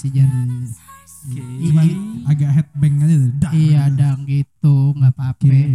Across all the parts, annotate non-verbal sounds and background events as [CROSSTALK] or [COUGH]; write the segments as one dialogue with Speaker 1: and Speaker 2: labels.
Speaker 1: sih jangan
Speaker 2: Cuman
Speaker 1: Iya.
Speaker 2: agak headbang aja tuh. Dah. Iya.
Speaker 1: iya dang gitu nggak
Speaker 2: Oke.
Speaker 1: apa-apa
Speaker 2: Iya.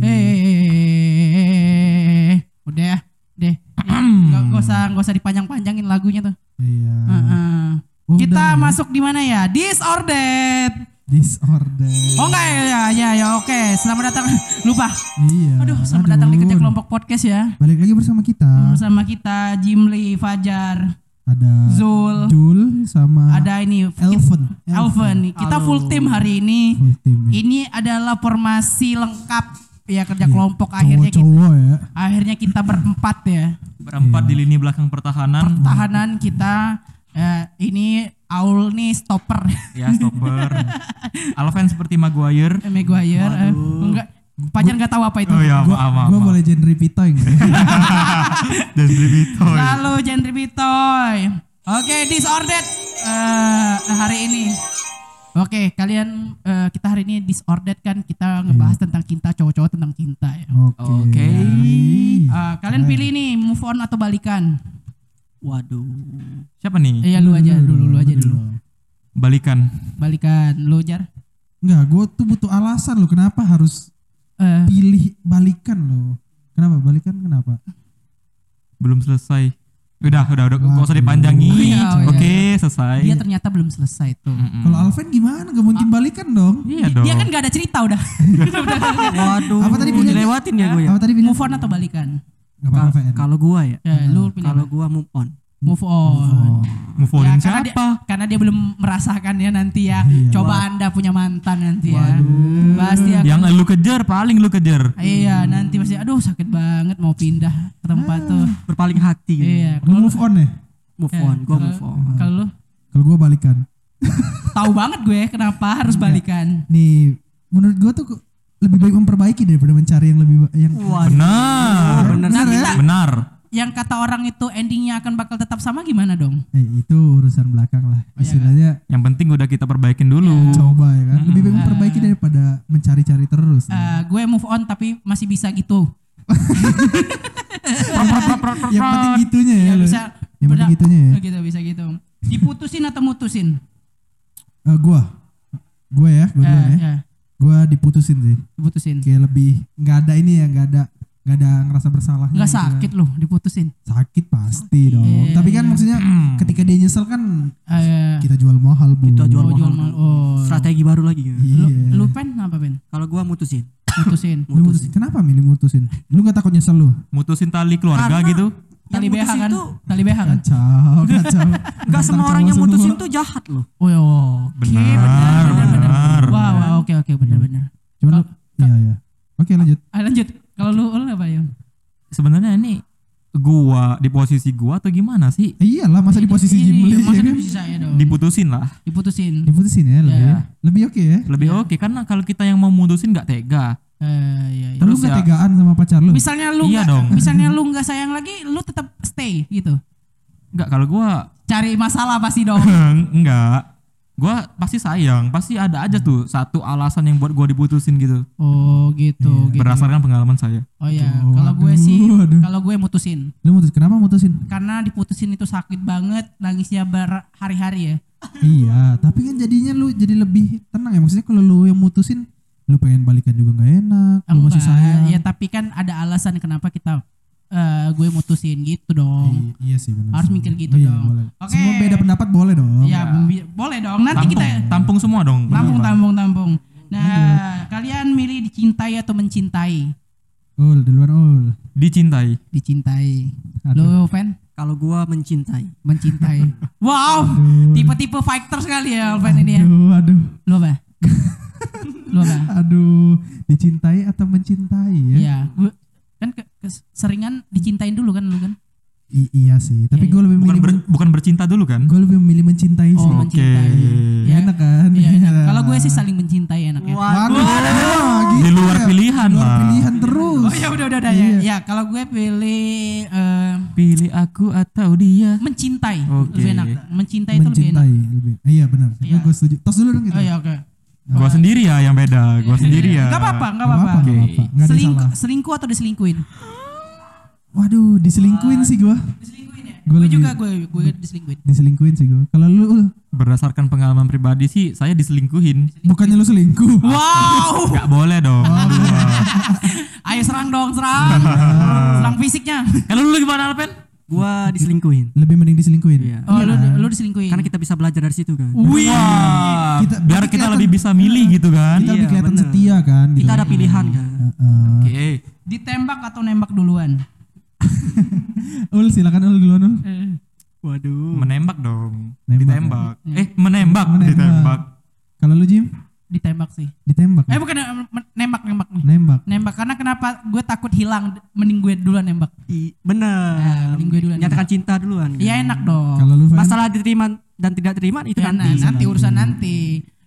Speaker 1: eh udah deh nggak nggak usah nggak usah dipanjang-panjangin lagunya tuh
Speaker 2: Iya.
Speaker 1: Heeh.
Speaker 2: Udah
Speaker 1: kita
Speaker 2: ya.
Speaker 1: masuk di mana ya disordered
Speaker 2: Disorder.
Speaker 1: oh enggak ya ya ya, ya oke selamat datang [LAUGHS] lupa
Speaker 2: Iya.
Speaker 1: aduh selamat datang di Hmm. kerja
Speaker 2: Aduh.
Speaker 1: kelompok podcast ya
Speaker 2: Balik lagi bersama kita.
Speaker 1: bersama kita Jimli Fajar
Speaker 2: Ada
Speaker 1: Zul.
Speaker 2: Jul sama
Speaker 1: ada ini
Speaker 2: Elven.
Speaker 1: Alven kita full team hari ini
Speaker 2: Full team. ya.
Speaker 1: ini adalah formasi lengkap ya kerja
Speaker 2: Iya,
Speaker 1: kelompok akhirnya kita,
Speaker 2: Cowok-cowok ya.
Speaker 1: akhirnya kita berempat ya
Speaker 3: Berempat di lini belakang pertahanan.
Speaker 1: pertahanan kita eh, ini Aul nih [LAUGHS] stopper
Speaker 3: ya stopper. Alven seperti Maguire.
Speaker 1: Maguire eh, enggak Pajar nggak tahu apa itu
Speaker 3: Oh ya,
Speaker 2: Gua,
Speaker 3: maaf, maaf.
Speaker 2: gua boleh genre Pito
Speaker 1: [LAUGHS]
Speaker 2: enggak?
Speaker 3: Dan Bito.
Speaker 1: lalu Jendri Bitoy oke disordered eh, hari ini oke kalian eh, kita hari ini disordered kan kita ngebahas tentang cinta cowok-cowok tentang cinta ya
Speaker 2: Oke.
Speaker 3: Oke.
Speaker 1: Eh, kalian pilih nih move on atau balikan
Speaker 3: Waduh. Siapa nih?
Speaker 1: Iya lu aja dulu lu aja dulu.
Speaker 3: Balikan.
Speaker 1: Balikan lu jar.
Speaker 2: Enggak, gue tuh butuh alasan loh kenapa harus
Speaker 1: Eh,
Speaker 2: pilih balikan loh. Kenapa balikan kenapa?
Speaker 3: Belum selesai. Udah, udah, udah. Gak usah dipanjangi.
Speaker 1: Iya, iya.
Speaker 3: Oke, selesai.
Speaker 1: dia ternyata belum selesai tuh.
Speaker 3: Mm-mm.
Speaker 2: Kalau Alven gimana? Gak
Speaker 1: Ah.
Speaker 2: mungkin balikan dong.
Speaker 3: Iya
Speaker 1: Dia-
Speaker 3: dong.
Speaker 1: Dia kan gak ada cerita udah. Udah,
Speaker 4: Waduh.
Speaker 2: Apa tadi pilihannya?
Speaker 4: dilewatin ya gue ya?
Speaker 2: Apa tadi bilang?
Speaker 1: Iya. move on atau balikan?
Speaker 2: Gak apa-apa, Fen.
Speaker 4: Kalau gua ya.
Speaker 1: Ya, lu pilih
Speaker 4: Kalau
Speaker 1: apa?
Speaker 4: gua move on.
Speaker 1: move on.
Speaker 3: Move on
Speaker 1: Ya, karena dia,
Speaker 3: siapa?
Speaker 1: karena dia belum merasakan ya nanti ya.
Speaker 2: Iya.
Speaker 1: Coba Anda punya mantan nanti ya. Pasti
Speaker 2: Ya.
Speaker 1: akan-
Speaker 3: Yang lu kejar, paling lu kejar.
Speaker 1: Iya, nanti pasti aduh sakit banget mau pindah ke tempat
Speaker 2: Ah,
Speaker 1: tuh.
Speaker 4: Berpaling hati. gitu.
Speaker 1: Iya.
Speaker 2: Lu move on ya?
Speaker 4: Move on. Gua move on.
Speaker 1: Kalau lu
Speaker 2: Kalau gue balikan.
Speaker 1: tahu banget gue kenapa
Speaker 2: Iya.
Speaker 1: harus balikan.
Speaker 2: Nih, menurut gue tuh ke- lebih baik memperbaiki daripada mencari yang lebih ba- yang
Speaker 3: Benar.
Speaker 4: Bener
Speaker 1: Nah,
Speaker 4: sih.
Speaker 1: kita
Speaker 3: Benar.
Speaker 1: yang kata orang itu endingnya akan bakal tetap sama gimana dong?
Speaker 2: eh, itu urusan belakang
Speaker 1: Oh,
Speaker 2: lah.
Speaker 1: iya, kan?
Speaker 2: Istilahnya
Speaker 3: Yang penting udah kita perbaikin dulu.
Speaker 2: coba ya kan. Lebih baik memperbaiki daripada mencari-cari terus.
Speaker 1: Iya, Eh, gue move on tapi masih bisa gitu.
Speaker 2: yang penting gitunya ya.
Speaker 1: Ya,
Speaker 2: lo.
Speaker 1: bisa
Speaker 2: yang penting
Speaker 1: beda-
Speaker 2: gitunya ya.
Speaker 1: gitu bisa gitu. Diputusin atau mutusin?
Speaker 2: Eh, gua gua ya, gua
Speaker 1: Eh,
Speaker 2: duluan ya.
Speaker 1: ya,
Speaker 2: Gua diputusin sih.
Speaker 1: diputusin.
Speaker 2: Kayak lebih nggak ada ini ya, nggak ada nggak ada ngerasa bersalah.
Speaker 1: Enggak sakit loh diputusin.
Speaker 2: Sakit pasti dong. Tapi kan maksudnya
Speaker 1: Hmm.
Speaker 2: ketika dia nyesel kan
Speaker 1: Eh,
Speaker 2: kita jual mahal, Bu.
Speaker 4: Kita jual
Speaker 1: oh, jual mahal.
Speaker 4: mahal.
Speaker 1: Oh.
Speaker 4: Strategi baru lagi. gitu.
Speaker 2: Iya.
Speaker 1: Lu, lu pen apa pen?
Speaker 4: Kalau gua mutusin.
Speaker 2: [LAUGHS]
Speaker 1: Mutusin.
Speaker 2: Lu mutusin. Kenapa milih mutusin? Lu gak takut nyesel lu?
Speaker 3: Mutusin tali keluarga
Speaker 4: Karena-
Speaker 3: gitu.
Speaker 1: Tali
Speaker 4: Yang
Speaker 1: BH
Speaker 4: mutusin
Speaker 1: kan?
Speaker 4: tuh-
Speaker 1: Tali BH kan?
Speaker 2: Iya.
Speaker 1: [LAUGHS]
Speaker 2: Kacau, kacau.
Speaker 4: Gak semua orang yang mutusin tuh jahat loh.
Speaker 1: Oh ya. Oke, benar, benar, benar. Wah, wah, oke oke
Speaker 2: Hmm.
Speaker 1: benar benar.
Speaker 2: Cuman lu, iya iya. Oke lanjut.
Speaker 1: Ah, lanjut. Kalau lu lu apa ya?
Speaker 3: Sebenarnya ini gua di posisi gua atau gimana sih?
Speaker 2: Eh, iyalah masa di posisi
Speaker 1: Ini
Speaker 2: Jimli ya
Speaker 1: masa
Speaker 2: kan?
Speaker 1: di saya dong.
Speaker 3: Diputusin lah.
Speaker 1: Diputusin.
Speaker 2: Diputusin ya lebih.
Speaker 1: Iya.
Speaker 2: Lebih oke ya.
Speaker 3: Lebih oke karena kalau kita yang mau mutusin nggak tega.
Speaker 1: Eh, iya, iya.
Speaker 2: Terus gak
Speaker 3: Terus ya-
Speaker 2: tegaan sama pacar lu?
Speaker 1: Misalnya lu
Speaker 3: Iya
Speaker 1: nggak-
Speaker 3: dong.
Speaker 1: misalnya lu nggak sayang lagi, lu tetap stay gitu.
Speaker 3: Nggak kalau gua
Speaker 1: Cari masalah pasti
Speaker 2: [LAUGHS]
Speaker 1: dong.
Speaker 3: nggak. Gua pasti sayang, pasti ada aja tuh satu alasan yang buat gua diputusin gitu.
Speaker 1: Oh
Speaker 2: Iya,
Speaker 1: gitu. gitu.
Speaker 3: Berdasarkan pengalaman saya.
Speaker 1: Oh ya,
Speaker 2: Oh,
Speaker 1: kalau gue
Speaker 2: aduh,
Speaker 1: sih,
Speaker 2: aduh.
Speaker 1: kalau gue mutusin,
Speaker 2: Lu mutus kenapa mutusin?
Speaker 1: karena diputusin itu sakit banget, nangisnya berhari-hari ya.
Speaker 2: iya, tapi kan jadinya lu jadi lebih tenang ya. Maksudnya kalau lu yang mutusin, lu pengen balikan juga nggak enak, lu masih
Speaker 1: Enggak,
Speaker 2: sayang.
Speaker 1: Ya tapi kan ada alasan kenapa kita, eh gue mutusin gitu dong.
Speaker 2: I- iya sih benar.
Speaker 1: Harus
Speaker 2: sih.
Speaker 1: mikir gitu
Speaker 2: iya,
Speaker 1: dong.
Speaker 2: Boleh.
Speaker 1: Oke.
Speaker 2: Semua beda pendapat boleh dong.
Speaker 1: Ya bi- boleh dong. Nanti
Speaker 3: Tampung,
Speaker 1: Kan kita
Speaker 3: tampung semua dong.
Speaker 1: tampung, tampung, tampung. Nah, kalian milih dicintai atau mencintai?
Speaker 2: Ul, duluan ul.
Speaker 3: Dicintai.
Speaker 1: Dicintai. Lo fan?
Speaker 4: Kalau gua mencintai.
Speaker 1: Mencintai. wow, tipe-tipe fighter sekali ya fan ini ya.
Speaker 2: Aduh, aduh.
Speaker 1: Lo apa? Lo apa?
Speaker 2: Aduh, dicintai atau mencintai [LAUGHS] ya?
Speaker 1: Iya, gue kan ke- kes- seringan dicintain dulu kan lu kan.
Speaker 2: I- iya sih, tapi
Speaker 1: Iya,
Speaker 2: gue lebih
Speaker 3: Bukan
Speaker 2: milih
Speaker 3: ber- bukan bercinta dulu kan?
Speaker 2: gue lebih memilih mencintai sih.
Speaker 1: Oh, mencintai.
Speaker 2: Ya, enak kan?
Speaker 1: Iya, enak. Kalau gue sih saling mencintai ya. enaknya.
Speaker 2: [LAUGHS] Waduh, gitu
Speaker 3: Di luar pilihan
Speaker 2: Luar
Speaker 3: lah.
Speaker 2: pilihan terus.
Speaker 1: Oh ya udah udah udah
Speaker 2: Iya.
Speaker 1: ya. Ya, kalau gue pilih eh,
Speaker 3: Pilih aku atau dia.
Speaker 1: mencintai
Speaker 3: Oke.
Speaker 1: lebih enak. Mencintai, itu lebih enak.
Speaker 2: mencintai lebih. Eh, Iya benar. Gue gue setuju. Tos dulu dong gitu.
Speaker 1: Oh ya oke.
Speaker 3: Gua sendiri ya yang beda. Gua sendiri ya.
Speaker 1: Enggak apa-apa, enggak
Speaker 2: Nggak
Speaker 1: apa-apa.
Speaker 2: apa-apa, nggak apa-apa. Nggak ada yang
Speaker 1: Selingkuh,
Speaker 2: salah.
Speaker 1: selingkuh atau diselingkuin?
Speaker 2: Waduh, diselingkuin sih gue.
Speaker 1: Diselingkuin ya.
Speaker 2: Gua
Speaker 1: gue
Speaker 2: lebih-
Speaker 1: juga gue gue diselingkuhin
Speaker 2: diselingkuhin sih gue kalau lu lu-
Speaker 3: Berdasarkan pengalaman pribadi sih saya diselingkuhin.
Speaker 2: bukannya lu selingkuh
Speaker 1: wow
Speaker 3: Gak boleh dong.
Speaker 1: ayo serang dong
Speaker 2: [LAUGHS]
Speaker 1: serang serang fisiknya
Speaker 3: Kalau Eh, lu gimana Alpen?
Speaker 4: Gua diselingkuhin.
Speaker 2: lebih mending diselingkuhin
Speaker 4: Iya.
Speaker 1: oh lu lu diselingkuhin
Speaker 4: Karena kita bisa belajar dari situ kan.
Speaker 3: Wih.
Speaker 2: Kita-
Speaker 3: biar
Speaker 2: berarti
Speaker 3: kita
Speaker 2: kelihatan-
Speaker 3: lebih bisa milih gitu kan.
Speaker 2: kita
Speaker 3: Oke.
Speaker 2: lebih
Speaker 4: Iya,
Speaker 2: kelihatan
Speaker 4: bener.
Speaker 2: setia kan gitu. Eh,
Speaker 4: Kita ada pilihan kan.
Speaker 2: Heeh.
Speaker 1: ditembak atau nembak duluan
Speaker 2: ul silakan ul duluan ul
Speaker 3: Eh.
Speaker 1: Hmm.
Speaker 4: Waduh.
Speaker 3: Menembak dong.
Speaker 1: ya?
Speaker 2: Nembak.
Speaker 3: Ditembak. Eh, menembak,
Speaker 2: Menembak.
Speaker 3: ditembak.
Speaker 2: kalau lu Jim
Speaker 1: ditembak sih
Speaker 2: ditembak
Speaker 1: eh bukan eh, men- nembak nembak nih
Speaker 2: nembak
Speaker 1: nembak karena kenapa gue takut hilang mending gue duluan nembak
Speaker 4: I- bener.
Speaker 1: Nah, mending gue duluan.
Speaker 4: Nyatakan cinta duluan. kan.
Speaker 1: ya enak dong
Speaker 2: kalau lu Van
Speaker 4: Masalah diterima dan tidak terima itu
Speaker 1: Ya,
Speaker 4: nanti.
Speaker 1: nanti, nanti urusan nanti.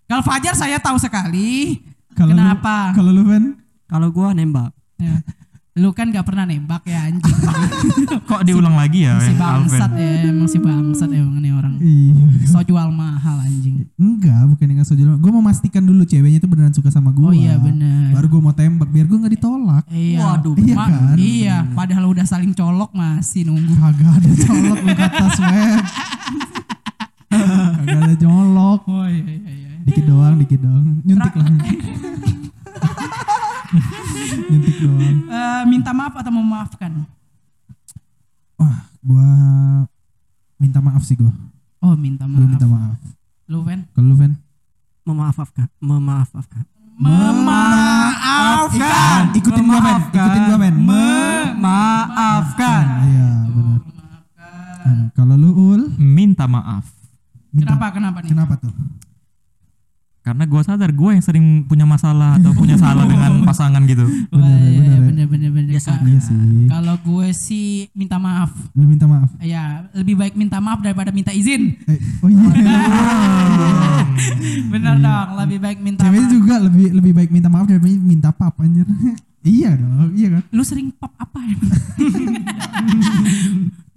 Speaker 1: Kalau Fajar saya tahu sekali.
Speaker 2: kalau lu
Speaker 1: Kenapa?
Speaker 2: kalau lu Van
Speaker 4: Kalau gua nembak.
Speaker 1: Ya. Lu kan gak pernah nembak ya
Speaker 2: [LAUGHS]
Speaker 1: anjing.
Speaker 3: Kok diulang lagi ya?
Speaker 1: si
Speaker 3: yang Alpen?
Speaker 1: bangsat ya, emang si bangsat emang nih orang.
Speaker 2: iya
Speaker 1: So jual mahal anjing.
Speaker 2: enggak bukan yang ngasih jalan gue mau memastikan dulu ceweknya itu beneran suka sama gue
Speaker 1: Oh iya, bener.
Speaker 2: baru gue mau tembak biar gue nggak ditolak
Speaker 1: Iya.
Speaker 4: Waduh,
Speaker 2: Iya
Speaker 1: Ma-
Speaker 2: kan?
Speaker 1: Iya, padahal udah saling colok masih nunggu.
Speaker 2: kagak ada colok lu kata swab kagak ada colok
Speaker 1: Oh iya iya iya.
Speaker 2: dikit doang dikit doang nyuntik lah nyuntik doang
Speaker 1: Eh, minta maaf atau memaafkan?
Speaker 2: wah gua minta maaf sih gua
Speaker 1: Oh, minta
Speaker 2: gua
Speaker 1: maaf.
Speaker 2: minta maaf
Speaker 1: Lu Ven?
Speaker 2: kalau lu Van
Speaker 4: Memaafkan. Memaafkan.
Speaker 1: Memaafkan.
Speaker 2: ikutin gua Van ikutin gua Van
Speaker 4: Memaafkan.
Speaker 2: iya benar Nah, kalau lu ul
Speaker 3: Minta maaf.
Speaker 2: minta
Speaker 1: Kenapa kenapa nih?
Speaker 2: kenapa tuh
Speaker 3: Karena gua sadar gua yang sering punya masalah atau punya
Speaker 1: [LAUGHS]
Speaker 3: salah dengan pasangan gitu.
Speaker 1: Wah, iya,
Speaker 2: Bener, bener,
Speaker 1: iya,
Speaker 2: ya.
Speaker 1: bener, bener, bener. Ka-
Speaker 2: iya sih
Speaker 1: Kalau gue sih minta maaf.
Speaker 2: lu minta maaf
Speaker 1: Ya, lebih baik minta maaf daripada minta izin. [LAUGHS]
Speaker 2: eh, oh iya
Speaker 1: Bener dong, lebih baik minta
Speaker 2: cewek
Speaker 1: maaf.
Speaker 2: juga lebih lebih baik minta maaf daripada minta apa anjir [LAUGHS] iya dong iya kan [LAUGHS]
Speaker 1: Lu sering pop apa [LAUGHS] ya?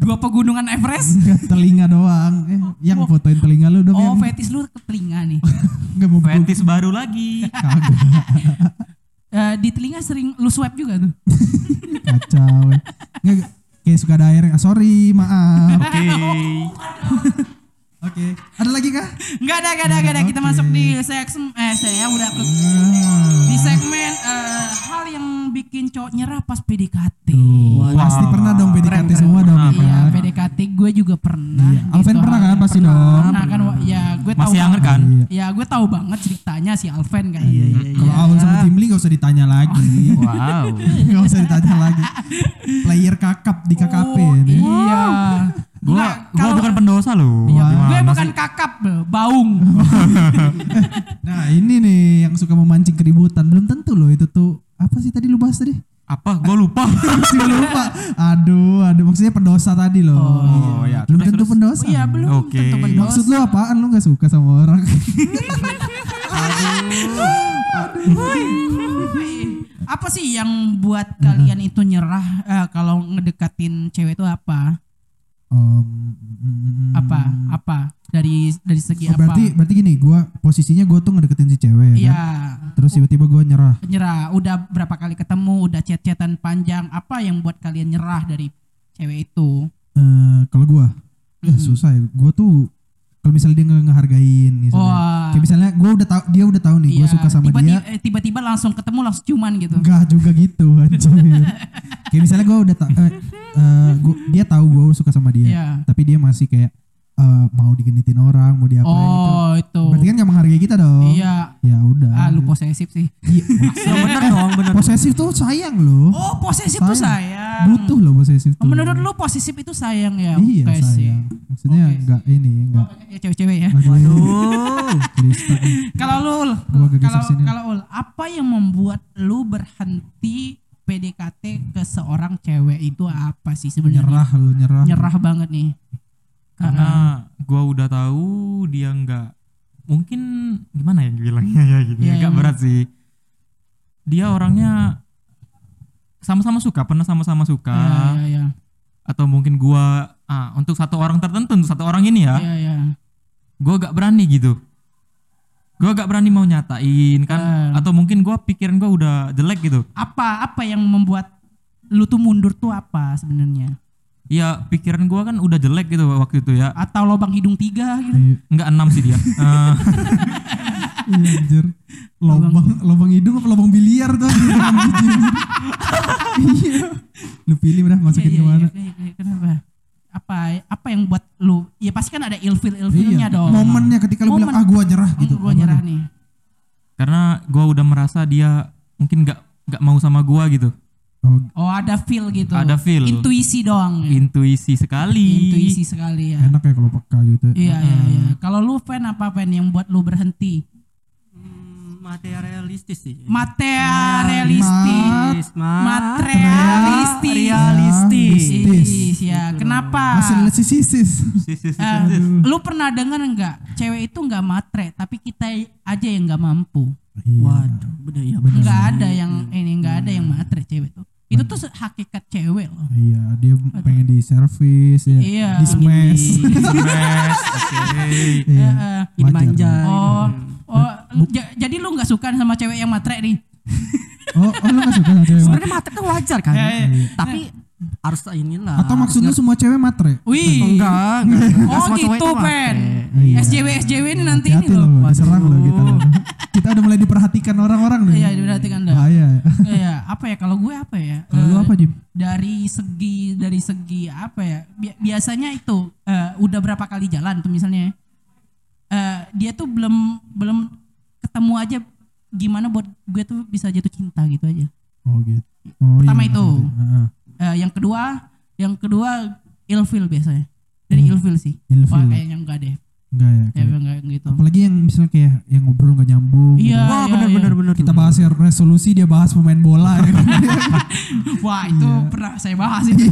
Speaker 1: Dua pegunungan Everest?
Speaker 2: Enggak, telinga doang eh, yang fotoin telinga lu dong
Speaker 1: Oh,
Speaker 2: yang
Speaker 1: fetis lu ke telinga nih.
Speaker 2: [LAUGHS] nggak mau gua-
Speaker 3: Fetis baru lagi.
Speaker 2: kagak
Speaker 1: Eh, di telinga sering lu swipe juga tuh.
Speaker 2: kacau nggak kayak suka ada air ah, sorry
Speaker 1: [LAUGHS]
Speaker 2: maaf
Speaker 3: Oke.
Speaker 2: oke ada lagi kah
Speaker 1: Enggak ada, enggak ada, enggak ada. Kita masuk di segmen eh saya udah ke di segmen eh, hal yang bikin cowok nyerah pas PDKT.
Speaker 2: pasti pernah dong PDKT semua dong
Speaker 1: Iya,
Speaker 2: kan
Speaker 1: PDKT gue juga pernah. gitu.
Speaker 2: Iya, Alvin pernah kan pasti dong.
Speaker 1: Pernah kan, wa- ya gue tahu.
Speaker 3: Masih hangat
Speaker 1: banget.
Speaker 3: kan?
Speaker 1: Ya gue tahu banget ceritanya si Alvin kan.
Speaker 2: kalau Aun sama Jimli gak usah ditanya
Speaker 1: [LAUGHS]
Speaker 2: lagi
Speaker 3: Wow.
Speaker 2: gak usah ditanya lagi player kakap ya, di KKP
Speaker 1: Oh,
Speaker 2: ini
Speaker 1: Iya.
Speaker 3: Gua
Speaker 1: Nah,
Speaker 3: gua
Speaker 1: kalau-
Speaker 3: bukan pendosa loh.
Speaker 1: Iya,
Speaker 3: Gimana
Speaker 1: gue
Speaker 3: sih?
Speaker 1: bukan kakap, bro.
Speaker 2: [LAUGHS]
Speaker 1: baung.
Speaker 2: Oh, nah ini nih yang suka memancing keributan belum tentu loh itu tuh apa sih tadi lu bahas tadi [LAUGHS]
Speaker 3: apa? Gua
Speaker 1: [LAUGHS]
Speaker 3: lupa.
Speaker 2: Masih lupa aduh aduh maksudnya pendosa tadi loh
Speaker 3: Oh, iya.
Speaker 2: belum
Speaker 3: Terus,
Speaker 2: tentu
Speaker 3: terus.
Speaker 2: pendosa
Speaker 1: Iya, belum
Speaker 3: Oke.
Speaker 1: tentu pendosa.
Speaker 2: Maksud lu apaan lu gak suka sama orang? [LAUGHS]
Speaker 1: apa sih yang buat kalian itu nyerah eh, kalau ngedekatin cewek itu apa?
Speaker 2: Om, mm,
Speaker 1: Apa? Apa? Dari dari segi
Speaker 2: oh, berarti
Speaker 1: apa?
Speaker 2: berarti gini, gua posisinya gua tuh ngedeketin si cewek ya
Speaker 1: Iya.
Speaker 2: kan? Terus tiba-tiba gua nyerah.
Speaker 1: Nyerah. Udah berapa kali ketemu, udah chat-chatan panjang. Apa yang buat kalian nyerah dari cewek itu?
Speaker 2: Eh kalau gua eh, susah ya. Gua tuh kalau misalnya dia nggak ngehargain gitu.
Speaker 1: Wah.
Speaker 2: Kayak misalnya gua udah tahu dia udah tahu nih
Speaker 1: Oh,
Speaker 2: gua
Speaker 1: ah. Iya,
Speaker 2: suka sama
Speaker 1: tiba-tiba,
Speaker 2: dia.
Speaker 1: eh, Tiba-tiba langsung ketemu langsung cuman gitu.
Speaker 2: Enggak juga gitu anjir. kayak misalnya gua udah tahu eh, eh, gua- dia tahu gua suka sama dia.
Speaker 1: Iya.
Speaker 2: Tapi dia masih kayak eh, mau digenitin orang, mau diapain gitu.
Speaker 1: Oh, itu.
Speaker 2: Berarti kan gak menghargai kita dong.
Speaker 1: Iya.
Speaker 2: Ya udah.
Speaker 1: Ah, lu posesif sih.
Speaker 2: Iya.
Speaker 4: Ya, bener dong, bener.
Speaker 2: posesif tuh sayang loh.
Speaker 1: Oh, posesif tuh sayang.
Speaker 2: Butuh loh posesif tuh.
Speaker 1: Menurut lu posesif itu sayang ya?
Speaker 2: Iya
Speaker 1: Oke sih.
Speaker 2: sayang. Maksudnya
Speaker 1: Oke
Speaker 2: enggak ini enggak.
Speaker 1: Ya cewek-cewek ya.
Speaker 2: [LAUGHS]
Speaker 4: Waduh.
Speaker 2: Kristen.
Speaker 1: Kalau lu, Ul,
Speaker 2: Gua
Speaker 1: kalau
Speaker 2: agak gesek sini.
Speaker 1: kalau Ul, apa yang membuat lu berhenti PDKT ke seorang cewek itu apa sih sebenarnya?
Speaker 2: nyerah lu nyerah.
Speaker 1: Nyerah banget nih.
Speaker 3: Karena gua udah tahu dia nggak mungkin gimana ya bilangnya ya gitu.
Speaker 1: Iya,
Speaker 3: Agak
Speaker 1: iya.
Speaker 3: berat sih. Dia orangnya sama-sama suka, pernah sama-sama suka.
Speaker 1: Ya, ya, ya.
Speaker 3: atau mungkin gua ah, untuk satu orang tertentu untuk satu orang ini ya
Speaker 1: Ya, ya.
Speaker 3: gua gak berani gitu gua gak berani mau nyatain kan atau mungkin gua pikiran gua udah jelek gitu
Speaker 1: Apa apa yang membuat lu tuh mundur tuh apa sebenarnya?
Speaker 3: ya pikiran gua kan udah jelek gitu waktu itu ya
Speaker 1: atau lubang hidung tiga gitu
Speaker 2: Iya,
Speaker 3: nggak enam sih dia Eh,
Speaker 2: iya, anjir. Lobang, lobang hidung apa lobang biliar
Speaker 1: [LAUGHS]
Speaker 2: tuh? anjir, lobang biji, anjir. Iya. Lu pilih udah
Speaker 1: Iya,
Speaker 2: masukin
Speaker 1: iya,
Speaker 2: kemana.
Speaker 1: iya, iya, iya, kenapa apa apa yang buat lu ya pasti kan ada ilfil ilfilnya dong
Speaker 2: Iya. Momennya ketika lu bilang
Speaker 1: Momen.
Speaker 2: ah gua nyerah
Speaker 1: gitu
Speaker 2: gitu.
Speaker 1: gua nyerah nih
Speaker 3: karena gua udah merasa dia mungkin nggak nggak mau sama gua gitu
Speaker 2: Oh,
Speaker 1: oh ada feel gitu
Speaker 3: Ada feel.
Speaker 1: intuisi doang
Speaker 2: Iya.
Speaker 3: intuisi sekali
Speaker 1: intuisi sekali ya
Speaker 2: enak ya kalau peka gitu.
Speaker 1: iya iya iya kalau lu fan apa fan yang buat lu berhenti
Speaker 4: Hmm, materialistis sih.
Speaker 1: materialistis
Speaker 4: Ma-
Speaker 1: materialistis
Speaker 2: Realistis.
Speaker 1: Is, ya kenapa
Speaker 2: Hasil sisis.
Speaker 3: Sis, sis, sis,
Speaker 1: Eh,
Speaker 3: sis.
Speaker 1: lu pernah dengar nggak cewek itu nggak matre tapi kita aja yang nggak mampu
Speaker 2: Iya,
Speaker 4: Waduh, bener ya. bener.
Speaker 1: nggak ada yang ini nggak ada yang matre cewek tuh itu tuh se- hakikat cewek loh
Speaker 2: Iya, dia pengen di servis ya.
Speaker 1: Iya.
Speaker 2: Di smash. [LAUGHS]
Speaker 3: Smash, oke.
Speaker 2: Iya.
Speaker 1: Eh,
Speaker 4: Ini
Speaker 2: Wajar. Hmm.
Speaker 4: manja.
Speaker 1: oh oh ja- jadi lu nggak suka sama cewek yang matre nih
Speaker 2: Oh, oh lu gak suka sama cewek matre?
Speaker 4: Sebenarnya matre itu wajar kan. Tapi harus inilah.
Speaker 2: Atau maksud lu semua cewek matre?
Speaker 1: wih
Speaker 4: enggak, enggak. Enggak
Speaker 1: oh
Speaker 4: semua cowok
Speaker 1: gitu
Speaker 4: itu matre.
Speaker 1: pen
Speaker 2: Iya.
Speaker 1: SJW SJW ini nanti ini
Speaker 2: Hati-hati
Speaker 1: loh
Speaker 2: loh, diserang loh kita.
Speaker 1: [LAUGHS]
Speaker 2: loh. Kita udah mulai diperhatikan orang-orang nih.
Speaker 1: iya berarti kan dah
Speaker 2: Bahaya.
Speaker 1: Iya, apa ya kalau gue apa ya
Speaker 2: Kalau lu
Speaker 1: Eh,
Speaker 2: apa, Jim?
Speaker 1: dari segi dari segi apa ya bi- biasanya itu eh, udah berapa kali jalan tuh misalnya ya? eh, dia tuh belum belum ketemu aja gimana buat gue tuh bisa jatuh cinta gitu aja
Speaker 2: Oh gitu. Oh,
Speaker 1: Pertama
Speaker 2: iya,
Speaker 1: itu.
Speaker 2: ngerti. Heeh.
Speaker 1: Eh, yang kedua yang kedua ilfil biasanya dari ilfil sih
Speaker 2: Hmm. Ilfil.
Speaker 1: Wah, kayaknya enggak deh
Speaker 2: Enggak ya. kayak-
Speaker 1: kayaknya enggak gitu
Speaker 2: Apalagi yang misalnya kayak yang ngobrol gak nyambung.
Speaker 1: iya
Speaker 4: Wah,
Speaker 1: iya,
Speaker 4: bener
Speaker 1: iya.
Speaker 4: bener bener.
Speaker 2: Kita bahas ya resolusi, dia bahas pemain bola. ya
Speaker 1: [LAUGHS]
Speaker 2: kan?
Speaker 1: wah itu
Speaker 2: Iya.
Speaker 1: pernah saya bahas itu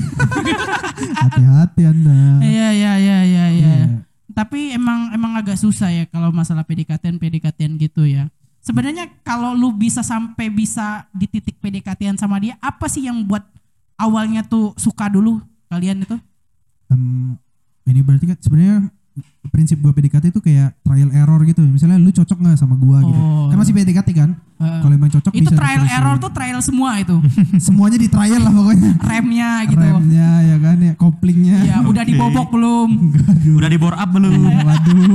Speaker 2: Hati-hati anda.
Speaker 1: Iya iya iya iya iya.
Speaker 2: Iya.
Speaker 1: Tapi emang emang agak susah ya kalau masalah PDKT PDKT gitu ya. Sebenarnya kalau lu bisa sampai bisa di titik PDKT sama dia, apa sih yang buat awalnya tuh suka dulu kalian itu?
Speaker 2: Em, ini berarti kan sebenarnya prinsip gua PDKT itu kayak trial error gitu. Misalnya lu cocok nggak sama gua gitu.
Speaker 1: Oh.
Speaker 2: Kan masih PDKT kan? Kalau emang cocok
Speaker 1: itu
Speaker 2: bisa
Speaker 1: trial
Speaker 2: diterusin.
Speaker 1: error tuh trial semua
Speaker 2: [LAUGHS]
Speaker 1: itu.
Speaker 2: Semuanya di trial lah pokoknya.
Speaker 1: [LAUGHS] Remnya gitu.
Speaker 2: Remnya Iya, ya kan ya, koplingnya.
Speaker 1: Ya, udah
Speaker 3: Oke.
Speaker 1: dibobok belum?
Speaker 3: udah di bore up belum
Speaker 2: [LAUGHS]
Speaker 1: [LAUGHS]
Speaker 2: Waduh.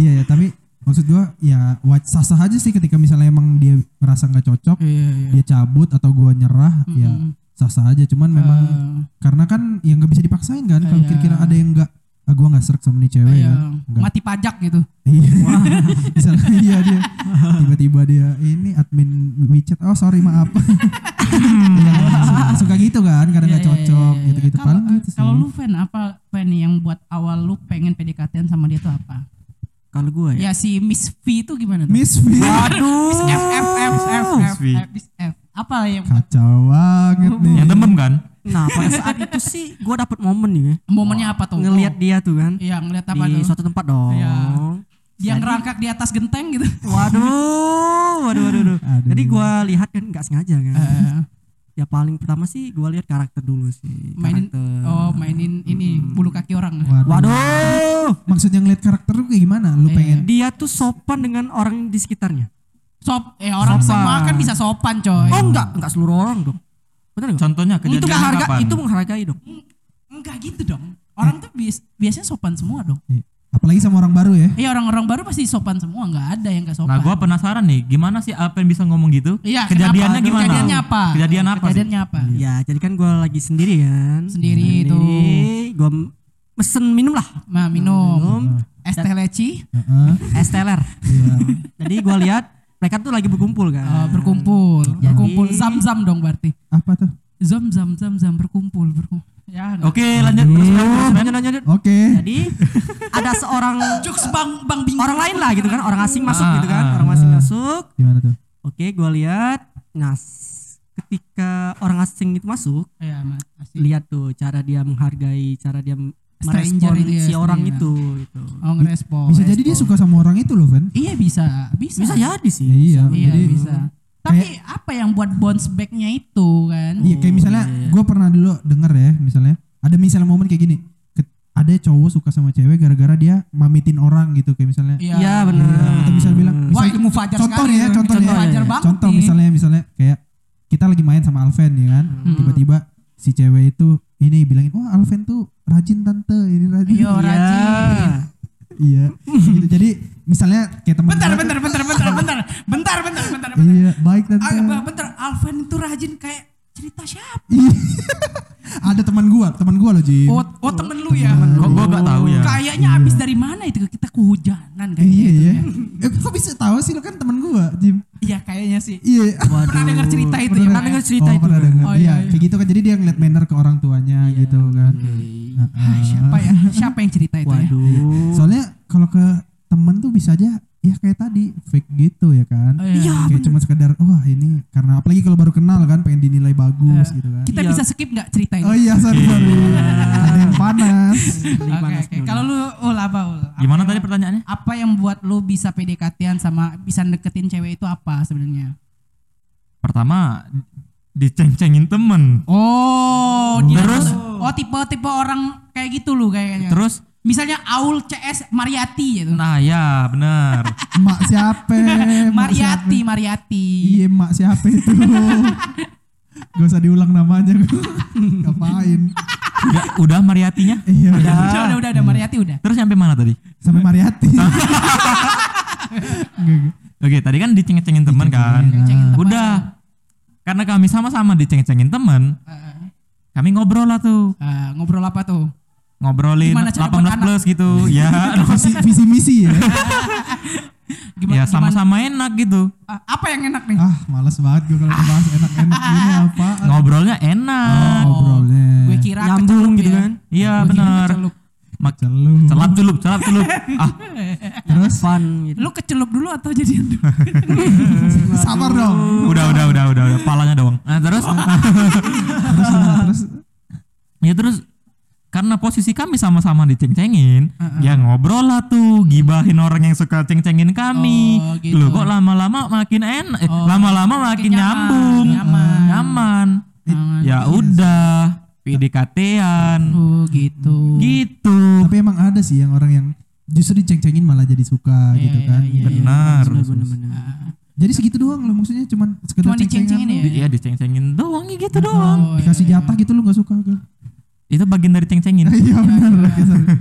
Speaker 2: Iya ya, tapi maksud gua ya wa- sah-sah aja sih ketika misalnya emang dia ngerasa nggak cocok,
Speaker 1: Iya iya.
Speaker 2: dia cabut atau gua nyerah, ya sah-sah aja. Cuman memang
Speaker 1: Eh,
Speaker 2: karena kan ya nggak bisa dipaksain kan. Kalau
Speaker 1: Iya.
Speaker 2: kira-kira ada yang nggak, ah, gua nggak serak sama nih cewek
Speaker 1: iya.
Speaker 2: kan. Nggak.
Speaker 1: mati pajak gitu.
Speaker 2: [LAUGHS] Iya. Misalnya iya dia tiba-tiba dia ini admin WeChat. Oh, sorry
Speaker 1: [LAUGHS]
Speaker 2: maaf. Iya, suka- suka gitu kan, kadang nggak
Speaker 1: Iya, iya,
Speaker 2: cocok
Speaker 1: iya, iya.
Speaker 2: gitu-gitu
Speaker 1: Kalau-
Speaker 2: paling gitu sih.
Speaker 1: Kalau lu fan apa fan yang buat awal lu pengen PDKT sama dia tuh apa?
Speaker 4: Kalau gua
Speaker 1: Ya
Speaker 4: ya.
Speaker 1: si Miss V itu gimana tuh?
Speaker 2: Miss V.
Speaker 1: Miss F F F F F
Speaker 3: V.
Speaker 1: F, Miss F. Apa yang
Speaker 2: Kacau banget nih.
Speaker 3: yang demam kan
Speaker 4: Nah, pada saat itu sih gua dapet momen nih ya.
Speaker 1: momennya apa tuh?
Speaker 4: Ngelihat dia tuh kan
Speaker 1: Iya, ngelihat apa
Speaker 4: di
Speaker 1: tuh?
Speaker 4: suatu tempat dong.
Speaker 1: Iya. Dia ngerangkak di atas genteng gitu.
Speaker 4: Waduh, waduh, waduh, waduh.
Speaker 2: Aduh.
Speaker 4: Jadi gua lihat kan nggak sengaja kan.
Speaker 1: Eh,
Speaker 4: Ya paling pertama sih gua lihat karakter dulu sih.
Speaker 1: mainin
Speaker 4: Karakter.
Speaker 1: oh, mainin ini bulu kaki orang.
Speaker 4: Waduh.
Speaker 2: Maksudnya ngeliat karakter lu kayak
Speaker 1: Iya.
Speaker 2: gimana? Lu
Speaker 3: Iya.
Speaker 2: pengen
Speaker 4: Dia tuh sopan dengan orang di sekitarnya.
Speaker 1: Sop, eh orang
Speaker 4: Sopan.
Speaker 1: semua kan bisa sopan, coy.
Speaker 4: Oh enggak, enggak seluruh orang dong. Benar enggak?
Speaker 3: contohnya Iya. kejadian
Speaker 4: Itu mengharga,
Speaker 3: kapan Iya.
Speaker 4: itu menghargai dong.
Speaker 1: Enggak gitu dong. Orang tuh bias- biasanya sopan semua dong.
Speaker 2: Iya. apalagi sama orang baru ya?
Speaker 1: Iya, orang-orang baru pasti sopan semua, enggak ada yang enggak sopan.
Speaker 3: nah gua penasaran nih gimana sih apa yang bisa ngomong gitu
Speaker 1: Iya,
Speaker 3: kejadiannya
Speaker 1: kenapa?
Speaker 3: gimana
Speaker 1: Kejadiannya apa?
Speaker 3: kejadian apa sih?
Speaker 1: Kejadiannya apa?
Speaker 4: Ya, jadi kan gua lagi sendiri kan.
Speaker 1: Sendiri itu.
Speaker 4: Gua m- mesen minum lah.
Speaker 1: Nah, minum.
Speaker 4: Minum
Speaker 1: Es teh leci.
Speaker 2: Heeh.
Speaker 4: es teler.
Speaker 2: Iya.
Speaker 4: jadi gua lihat mereka tuh lagi berkumpul kan.
Speaker 3: Oh.
Speaker 1: Eh, berkumpul,
Speaker 2: Hmm.
Speaker 1: berkumpul zam-zam dong berarti.
Speaker 2: Apa tuh?
Speaker 1: Zam zam zam zam berkumpul berkumpul. Ya. nggak-
Speaker 2: Oh.
Speaker 3: oke lanjut terus lanjut, terus, lanjut.
Speaker 4: Lanjut, lanjut, lanjut.
Speaker 2: Oke.
Speaker 1: Iya.
Speaker 4: Jadi ada seorang
Speaker 1: Jokes bang bang bing.
Speaker 2: Oh,
Speaker 4: orang lain lah gitu kan, orang asing masuk
Speaker 3: Ah,
Speaker 4: gitu kan,
Speaker 3: ah,
Speaker 4: orang asing masuk.
Speaker 2: Gimana tuh?
Speaker 4: Oke, gua lihat. Nah, s- ketika orang asing itu masuk,
Speaker 1: Ya,
Speaker 2: iya,
Speaker 1: Mas. Asik.
Speaker 4: lihat tuh cara dia menghargai, cara dia
Speaker 1: Stranger
Speaker 4: merespon
Speaker 1: itu ya,
Speaker 4: si orang
Speaker 1: stranger.
Speaker 4: itu gitu.
Speaker 1: Oh ngerespon.
Speaker 2: Bisa jadi dia suka sama orang itu loh, Van.
Speaker 1: Iya bisa, bisa.
Speaker 4: Bisa jadi sih.
Speaker 2: Iya,
Speaker 1: Iya
Speaker 2: jadi
Speaker 1: bisa. Tapi apa yang buat bounce back-nya itu kan?
Speaker 2: Iya, kayak misalnya gue pernah dulu denger ya, misalnya ada misalnya momen kayak gini. Ke- Ada cowok suka sama cewek gara-gara dia mamitin orang gitu kayak misalnya.
Speaker 4: Iya, benar.
Speaker 2: Atau bisa bilang,
Speaker 1: Wah,
Speaker 2: misal-
Speaker 1: itu mufajar
Speaker 2: contoh
Speaker 1: sekali.
Speaker 2: nih ya,
Speaker 1: itu.
Speaker 2: contoh nih ya.
Speaker 1: Mufajar
Speaker 4: Iya,
Speaker 1: banget. nih.
Speaker 2: Contoh
Speaker 1: Hmm.
Speaker 2: misalnya misalnya kayak kita lagi main sama Alven ya kan, tiba-tiba si cewek itu ini bilangin wah Alven tuh rajin tante ini rajin
Speaker 1: Iya, rajin.
Speaker 2: [LAUGHS] iya gitu jadi misalnya kayak teman
Speaker 1: Bentar,
Speaker 2: gua-
Speaker 1: bentar, bentar, bentar, bentar, bentar, bentar, bentar, bentar.
Speaker 2: iya baik tante
Speaker 1: Ah, bentar, bentar. Alven itu rajin kayak cerita siapa?
Speaker 2: Iya. ada teman gua teman gua loh Jin
Speaker 1: Oh, oh temen lu ya.
Speaker 2: Iya. Temen
Speaker 3: Kok gua gak tahu ya?
Speaker 1: Kayaknya abis dari mana itu kita kehujanan kayaknya.
Speaker 2: iya
Speaker 1: itu [LAUGHS]
Speaker 2: iya
Speaker 1: ya.
Speaker 2: eh, kok bisa tahu sih lo kan teman gua Jim
Speaker 1: Iya kayaknya sih.
Speaker 2: iya
Speaker 1: Pernah dengar cerita itu
Speaker 2: Pernah
Speaker 1: ya?
Speaker 2: dengar
Speaker 1: Pernah
Speaker 4: cerita
Speaker 2: oh,
Speaker 4: itu.
Speaker 2: pernah dengar.
Speaker 1: Oh,
Speaker 2: iya,
Speaker 1: iya, iya.
Speaker 2: kayak gitu kan jadi dia ngeliat manner ke orang tuanya gitu kan
Speaker 1: Ah, siapa ya? Siapa yang cerita itu ya?
Speaker 4: Waduh.
Speaker 2: soalnya kalau ke temen tuh bisa aja ya kayak tadi fake gitu ya kan
Speaker 1: Oh, iya. Iya,
Speaker 2: kayak cuma sekedar wah ini karena apalagi kalau baru kenal kan pengen dinilai bagus gitu kan
Speaker 1: Kita
Speaker 4: Iya.
Speaker 1: bisa skip nggak cerita ini?
Speaker 2: oh iya sorry sorry ada yang panas
Speaker 1: Oke, oke. Kalau lu ul apa ul? Apa
Speaker 3: Gimana
Speaker 1: yang-
Speaker 3: tadi pertanyaannya?
Speaker 1: Apa yang buat lu bisa PDKT-an sama bisa deketin cewek itu apa sebenarnya?
Speaker 3: Pertama diceng-cengin temen.
Speaker 1: Oh, dia
Speaker 3: Terus-
Speaker 1: oh tipe-tipe orang kayak gitu lu kayaknya.
Speaker 3: Terus
Speaker 1: misalnya Aul CS Mariati gitu.
Speaker 3: nah ya
Speaker 1: [LAUGHS]
Speaker 3: bener
Speaker 2: mak siapa Mak siapa?
Speaker 1: Mariati, Mariati.
Speaker 2: iya mak siapa
Speaker 1: [LAUGHS]
Speaker 2: itu gak usah diulang namanya [LAUGHS] ngapain
Speaker 3: Udah, udah Mariatinya?
Speaker 2: iya
Speaker 1: Udah, udah, udah, udah Mariati udah.
Speaker 3: Terus sampai mana tadi?
Speaker 1: Iya.
Speaker 2: sampai Mariati
Speaker 1: Ah,
Speaker 2: [LAUGHS]
Speaker 3: Oke, tadi kan diceng-cengin temen kan.
Speaker 1: Diceng-cengin temen.
Speaker 3: Udah. Karena kami sama-sama diceng-cengin temen,
Speaker 1: Eh,
Speaker 3: kami ngobrol lah tuh.
Speaker 1: eh, ngobrol apa tuh?
Speaker 3: Ngobrolin
Speaker 1: Gimana cara
Speaker 3: 18
Speaker 1: buat
Speaker 3: plus
Speaker 1: [LAUGHS]
Speaker 3: gitu. ya,
Speaker 2: visi, visi misi ya
Speaker 1: Gimana?
Speaker 3: ya
Speaker 1: gimana-
Speaker 3: sama-sama enak gitu.
Speaker 1: eh, apa yang enak nih?
Speaker 2: ah males banget gue kalau bahas enak-enak ini apa
Speaker 3: Ngobrolnya enak.
Speaker 1: Oh.
Speaker 2: ngobrolnya
Speaker 1: Gue kira
Speaker 4: Nyambung
Speaker 1: kecelup
Speaker 4: gitu
Speaker 1: ya.
Speaker 4: kan.
Speaker 3: Iya,
Speaker 1: Gua kira
Speaker 3: benar.
Speaker 1: kecelup.
Speaker 3: Mak-
Speaker 2: Celup.
Speaker 3: celap celup, celap
Speaker 1: [LAUGHS]
Speaker 3: celup. ah,
Speaker 4: Terus fun gitu.
Speaker 1: Lu kecelup dulu atau jadian dulu?
Speaker 2: sabar dong
Speaker 3: udah udah udah udah, udah. palanya doang. Nah,
Speaker 1: [LAUGHS]
Speaker 3: terus
Speaker 2: terus gimana? Nah, terus
Speaker 3: ya terus karena posisi kami sama-sama diceng-cengin, ya ngobrol lah tuh, gibahin orang yang suka ceng-cengin kami.
Speaker 1: Oh, gitu.
Speaker 3: Loh, kok lama-lama makin enak, eh,
Speaker 1: Oh,
Speaker 3: lama-lama
Speaker 1: makin
Speaker 3: makin
Speaker 1: nyaman,
Speaker 3: nyambung,
Speaker 1: nyaman. iya
Speaker 3: nyaman.
Speaker 1: Nyaman.
Speaker 3: Ya udah, PDKT-an.
Speaker 1: oh gitu.
Speaker 3: Gitu.
Speaker 2: tapi emang ada sih yang orang yang justru diceng-cengin malah jadi suka
Speaker 1: Iya,
Speaker 2: gitu
Speaker 1: iya,
Speaker 2: kan
Speaker 1: iya, iya.
Speaker 3: Benar.
Speaker 4: Benar-benar.
Speaker 2: jadi segitu doang loh maksudnya cuman
Speaker 1: Cuma
Speaker 2: sekedar
Speaker 1: diceng-cengin
Speaker 2: ceng-cengan
Speaker 1: ya?
Speaker 2: doang.
Speaker 3: Iya, diceng-cengin doang ya gitu doang.
Speaker 1: Oh,
Speaker 2: dikasih jatah gitu lu gak suka
Speaker 1: [LAUGHS]
Speaker 2: kan
Speaker 3: Itu bagian dari ceng-cengin.
Speaker 2: iya benar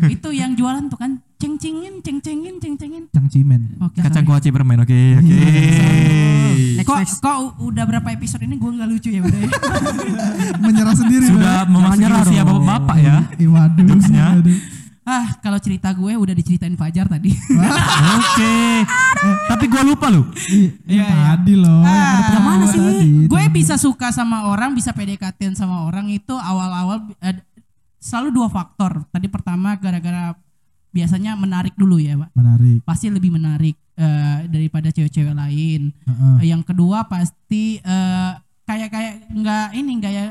Speaker 1: itu yang jualan tuh kan ceng-cengin, ceng-cengin, ceng-cengin.
Speaker 2: cangcimen
Speaker 1: Oke.
Speaker 3: Kacang
Speaker 1: sorry.
Speaker 3: gua cipermen. Oke, oke.
Speaker 1: Kok, kok u- udah berapa episode ini gue nggak lucu ya udah ya?
Speaker 2: [LAUGHS] menyerah sendiri
Speaker 3: Sudah memasuki
Speaker 4: nyerah
Speaker 3: usia
Speaker 4: dong.
Speaker 3: bapak-bapak ya.
Speaker 2: Bang. Ih, waduh
Speaker 3: Jokesnya.
Speaker 2: waduh.
Speaker 1: ah kalau cerita gue udah diceritain Fajar tadi. Ah,
Speaker 3: [LAUGHS] Oke. Eh, Tapi gua lupa lu.
Speaker 2: Ih, yang tadi loh yang ada
Speaker 1: yang Iya, Ah, mana
Speaker 2: teman
Speaker 1: sih?
Speaker 2: gua tadi.
Speaker 1: gue bisa suka sama orang, bisa PDKT sama orang itu awal-awal eh, selalu dua faktor. Tadi pertama gara-gara biasanya menarik dulu ya, Pak.
Speaker 2: menarik
Speaker 1: Pasti lebih menarik eh, daripada cewek-cewek lain.
Speaker 2: Heeh.
Speaker 1: Eh, Yang kedua pasti eh, kayak kayak nggak ini nggak ya